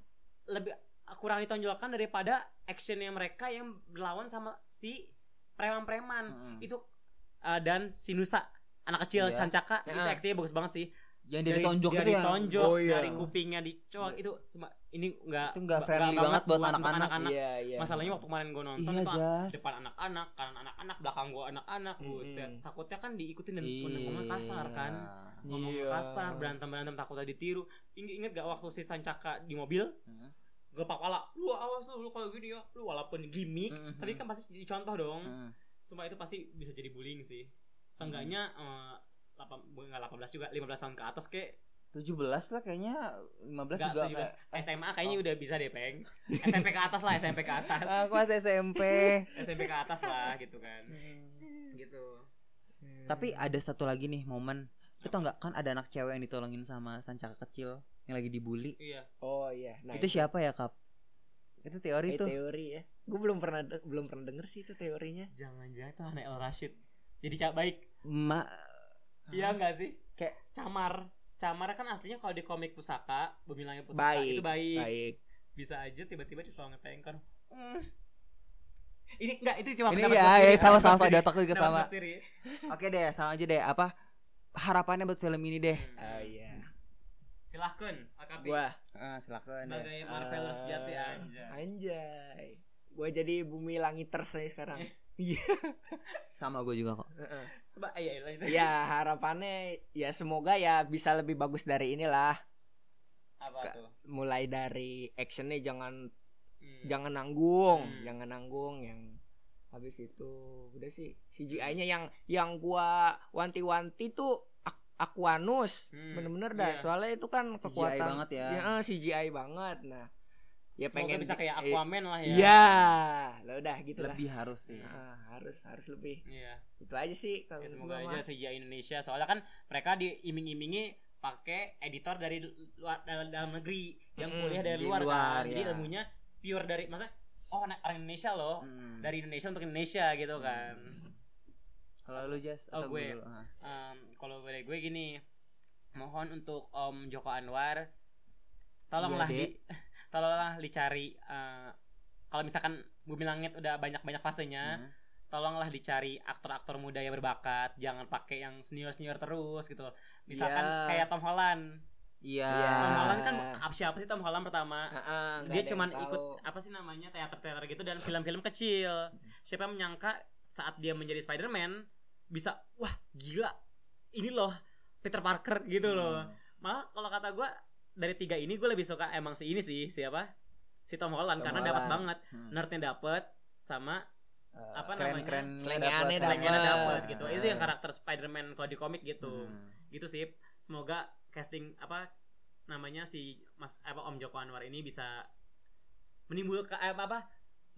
S3: lebih kurang ditonjolkan daripada actionnya mereka yang berlawan sama si preman-preman
S2: Mm-mm.
S3: itu uh, dan si Nusa anak kecil
S2: Iya.
S3: Cancaka itu
S4: Heeh.
S3: aktingnya bagus banget sih
S2: yang dari tonjok
S3: dari
S2: itu ya? yang
S3: tonjok,
S4: Oh, iya.
S3: dari kupingnya dicolok itu sema- ini nggak
S2: Itu nggak friendly banget buat anak-anak.
S4: Iya, iya.
S3: masalahnya waktu kemarin gue nonton
S2: iya
S3: itu
S2: jas Hmm.
S3: depan anak-anak kanan anak-anak belakang gue anak-anak
S4: Mm-mm.
S3: buset takutnya kan diikutin dan ngomong kasar kan
S2: Iya.
S3: ngomong
S4: Iya.
S3: kasar berantem berantem takutnya ditiru inget inget gak waktu si Sancaka di mobil
S2: Hmm.
S3: gelepak pala lu awas lu, lu kalau gini ya lu walaupun gimmick
S2: Mm-mm.
S3: tapi kan pasti dicontoh dong
S2: Mm.
S3: sumpah itu pasti bisa jadi bullying sih seenggaknya eh, lapan- bu- nggak 18 juga 15 tahun ke atas kek
S2: 17 lah kayaknya 15
S3: Nggak,
S2: juga
S3: 17.
S2: eh,
S3: SMA kayaknya udah bisa deh peng SMP ke atas lah SMP ke atas
S2: Eh, aku masih SMP
S3: SMP ke atas lah gitu kan gitu
S2: tapi ada satu lagi nih momen itu tau nggak kan ada anak cewek yang ditolongin sama sancaka kecil yang lagi dibully
S3: iya
S4: Oh iya. Nah,
S2: itu siapa ya kap itu teori
S4: eh,
S2: tuh
S4: teori ya. Gue belum pernah de- belum pernah denger sih itu teorinya.
S3: jangan-jangan itu anak El Rashid jadi cak baik
S2: Ma
S3: iya enggak sih
S2: Kayak-
S3: camar camar kan aslinya kalau di komik pusaka bumi langit pusaka
S4: Baik.
S3: itu baik.
S4: Baik.
S3: bisa aja tiba-tiba ditolongin pengkon Hmm. ini enggak itu cuma
S2: ini
S3: pendapat
S2: ya,
S3: gua sendiri,
S2: ya sama sama
S3: pendapat gua
S2: sama di
S3: sendiri,
S2: otak lu juga
S3: pendapat
S2: sama
S3: gua sendiri.
S2: oke deh sama aja deh apa harapannya buat film ini deh
S4: Oh iya.
S3: Hmm. Silahkan, AKP.
S4: Gua
S2: Ah, silakan
S3: sebagai Marvelers sejati
S4: Ah,
S3: aja.
S4: Anjay. Gue jadi bumi langiters nih sekarang.
S3: Eh.
S2: sama gue juga kok
S4: Heeh.
S3: Sebab ayo lanjut.
S4: ya harapannya ya semoga ya bisa lebih bagus dari inilah.
S3: Apa
S4: Ka-
S3: tuh?
S4: Mulai dari actionnya jangan
S3: Hmm.
S4: jangan nanggung,
S3: Hmm.
S4: jangan nanggung yang habis itu udah sih CGI-nya yang yang gua wanti-wanti tuh Ak- Aquanus
S3: Hmm,
S4: bener-bener dah
S3: iya.
S4: soalnya itu kan
S2: CGI
S4: kekuatan
S2: banget ya.
S4: eh, CGI banget nah ya
S3: Semoga
S4: pengen
S3: bisa kayak
S4: eh,
S3: Aquaman lah ya.
S4: Iya, lah udah gitu lah.
S2: Lebih harus sih.
S4: Nah, harus harus lebih.
S3: Iya.
S4: Itu aja sih kalau
S3: Ya,
S4: gua
S3: semoga
S4: mah.
S3: aja CGI Indonesia soalnya kan mereka diiming-imingi pakai editor dari luar dalam, dalam negeri yang
S4: Mm-mm, iya.
S3: kuliah dari
S2: di
S3: luar,
S2: luar,
S3: kan. Jadi
S2: ya.
S3: ilmunya pure dari masa oh anak orang Indonesia loh.
S4: Mm.
S2: Hmm.
S3: Dari Indonesia untuk Indonesia gitu kan.
S2: kalau lu Jas
S3: Oh,
S2: atau
S3: gue.
S2: dulu? Ah.
S3: Em, kalau boleh gue gini, mohon untuk Om Joko Anwar tolonglah
S2: Iya, Dek.
S3: di tolonglah dicari eh, kalau misalkan Bumi Langit udah banyak-banyak fasenya
S2: Hmm.
S3: tolonglah dicari aktor-aktor muda yang berbakat jangan pakai yang senior-senior terus gitu misalkan
S4: Iya.
S3: kayak Tom Holland
S2: Iya.
S4: Iya.
S3: Tom Holland kan apa siapa sih Tom Holland pertama
S4: Heeh, nggak
S3: dia
S4: ada yang
S3: cuman
S4: tahu.
S3: ikut apa sih namanya teater-teater gitu dan film-film kecil siapa yang menyangka saat dia menjadi Spider-Man bisa wah gila ini loh Peter Parker gitu
S4: Hmm.
S3: loh malah kalau kata gua dari tiga ini gue lebih suka emang si ini sih siapa si Tom Holland
S4: Tom
S3: karena
S4: Holland.
S3: dapat banget
S2: Hmm.
S3: nerdnya dapat sama
S4: Eh,
S3: Nah, apa namanya
S2: Keren-keren
S4: Selengeannya
S2: ya, dapet.
S3: Selainnya
S4: Dapet.
S3: dapat gitu itu yang
S4: Ah.
S3: karakter Spider-Man kalau di komik gitu
S2: Hmm.
S3: gitu sih semoga casting apa namanya si Mas apa Om Joko Anwar ini bisa menimbulkan eh, apa, apa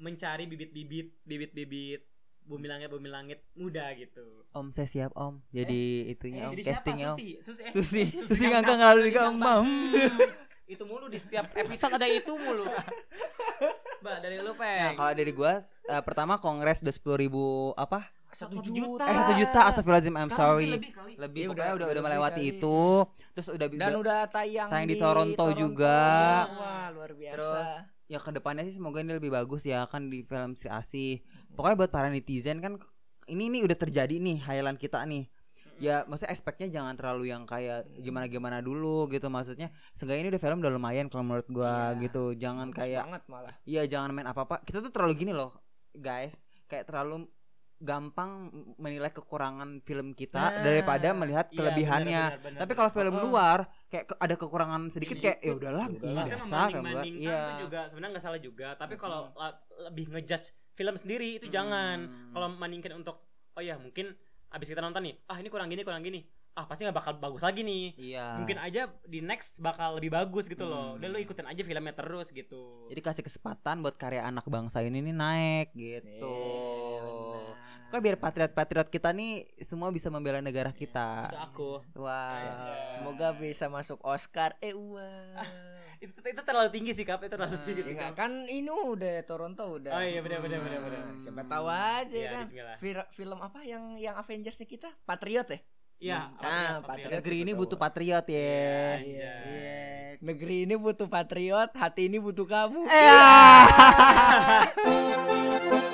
S3: mencari bibit-bibit bibit-bibit bumi langit bumi langit muda gitu. Eh,
S2: Om saya siap Om. Jadi itunya Om
S3: jadi siapa?
S2: castingnya Om.
S3: Susi, Susi, eh,
S2: Susi,
S3: Susi
S2: Susi
S3: Gangga.
S2: ngangkang lalu
S3: Susi
S2: juga Om.
S3: Gangga.
S2: Om.
S3: Hmm, itu mulu di setiap episode ada itu mulu. Mbak dari lu
S2: Nah,
S3: peng.
S2: kalau dari gua eh, pertama kongres udah sepuluh ribu apa?
S4: satu
S3: satu juta.
S4: juta.
S2: Eh satu juta astagfirullahaladzim I'm
S3: Sekarang
S2: sorry.
S3: mungkin lebih kali.
S2: Lebih
S4: Iya,
S2: pokoknya udah
S4: udah- udah
S2: udah
S4: lebih
S2: melewati
S4: kali.
S2: itu. Terus udah
S4: Dan udah tayang,
S2: tayang di Toronto juga.
S4: ya. Wah, luar biasa.
S2: Terus ya kedepannya sih semoga ini lebih bagus ya kan di film si Asih. Pokoknya buat para netizen kan ini ini udah terjadi nih hayalan kita nih. Ya maksudnya aspeknya jangan terlalu yang kayak gimana gimana dulu gitu maksudnya. Seenggaknya ini udah film udah lumayan kalau menurut gua
S4: Iya.
S2: gitu. Jangan
S4: Bagus
S2: kayak
S4: banget malah.
S2: iya jangan main apa apa. Kita tuh terlalu gini loh guys kayak terlalu gampang menilai kekurangan film kita
S4: Nah,
S2: daripada melihat
S3: Iya,
S2: kelebihannya.
S3: benar, benar, benar.
S2: Tapi kalau film
S4: Oh, oh.
S2: luar kayak ke- ada kekurangan sedikit
S3: Sedikit.
S2: kayak ya udahlah
S3: Iya,
S4: Ya
S2: ih,
S4: udahlah.
S3: Bahkan
S2: biasa film luar.
S3: membanding-bandingkan
S2: Iya.
S3: itu juga sebenarnya nggak salah juga. Tapi kalau
S4: Mhm.
S3: la- lebih ngejudge film sendiri itu jangan.
S2: Hmm.
S3: Kalau membandingkan untuk oh ya mungkin abis kita nonton nih, ah ini kurang gini kurang gini, ah pasti nggak bakal bagus lagi nih.
S2: iya.
S3: Mungkin aja di next bakal lebih bagus gitu loh.
S2: Hmm.
S3: Udah lu ikutin aja filmnya terus gitu.
S2: jadi kasih kesempatan buat karya anak bangsa ini nih naik gitu.
S4: Iya,
S3: Iya,
S2: Kok biar patriot-patriot kita nih semua bisa membela negara
S3: itu
S2: kita.
S3: aku. Iya,
S2: Wah.
S4: Semoga bisa masuk Oscar. Eh, wah.
S3: Itu, itu terlalu tinggi sih kap, itu terlalu tinggi
S4: Ya
S3: sih
S4: nggak,
S3: kap.
S4: kan ini udah Toronto udah.
S3: Gitu. Oh iya benar benar benar
S4: Hmm,
S3: benar.
S4: Siapa tahu aja
S3: Iya,
S4: kan.
S3: bismillah.
S4: Fir- film apa yang yang Avengersnya kita? Patriot ya?
S3: Iya, apa-
S4: Nah,
S3: apa-
S4: patriot.
S2: Negeri ini butuh patriot ya.
S3: Iya, anjay.
S4: Negeri
S2: Iya.
S3: Eh, Iya.
S4: ini butuh patriot, hati ini butuh kamu.
S2: Eh.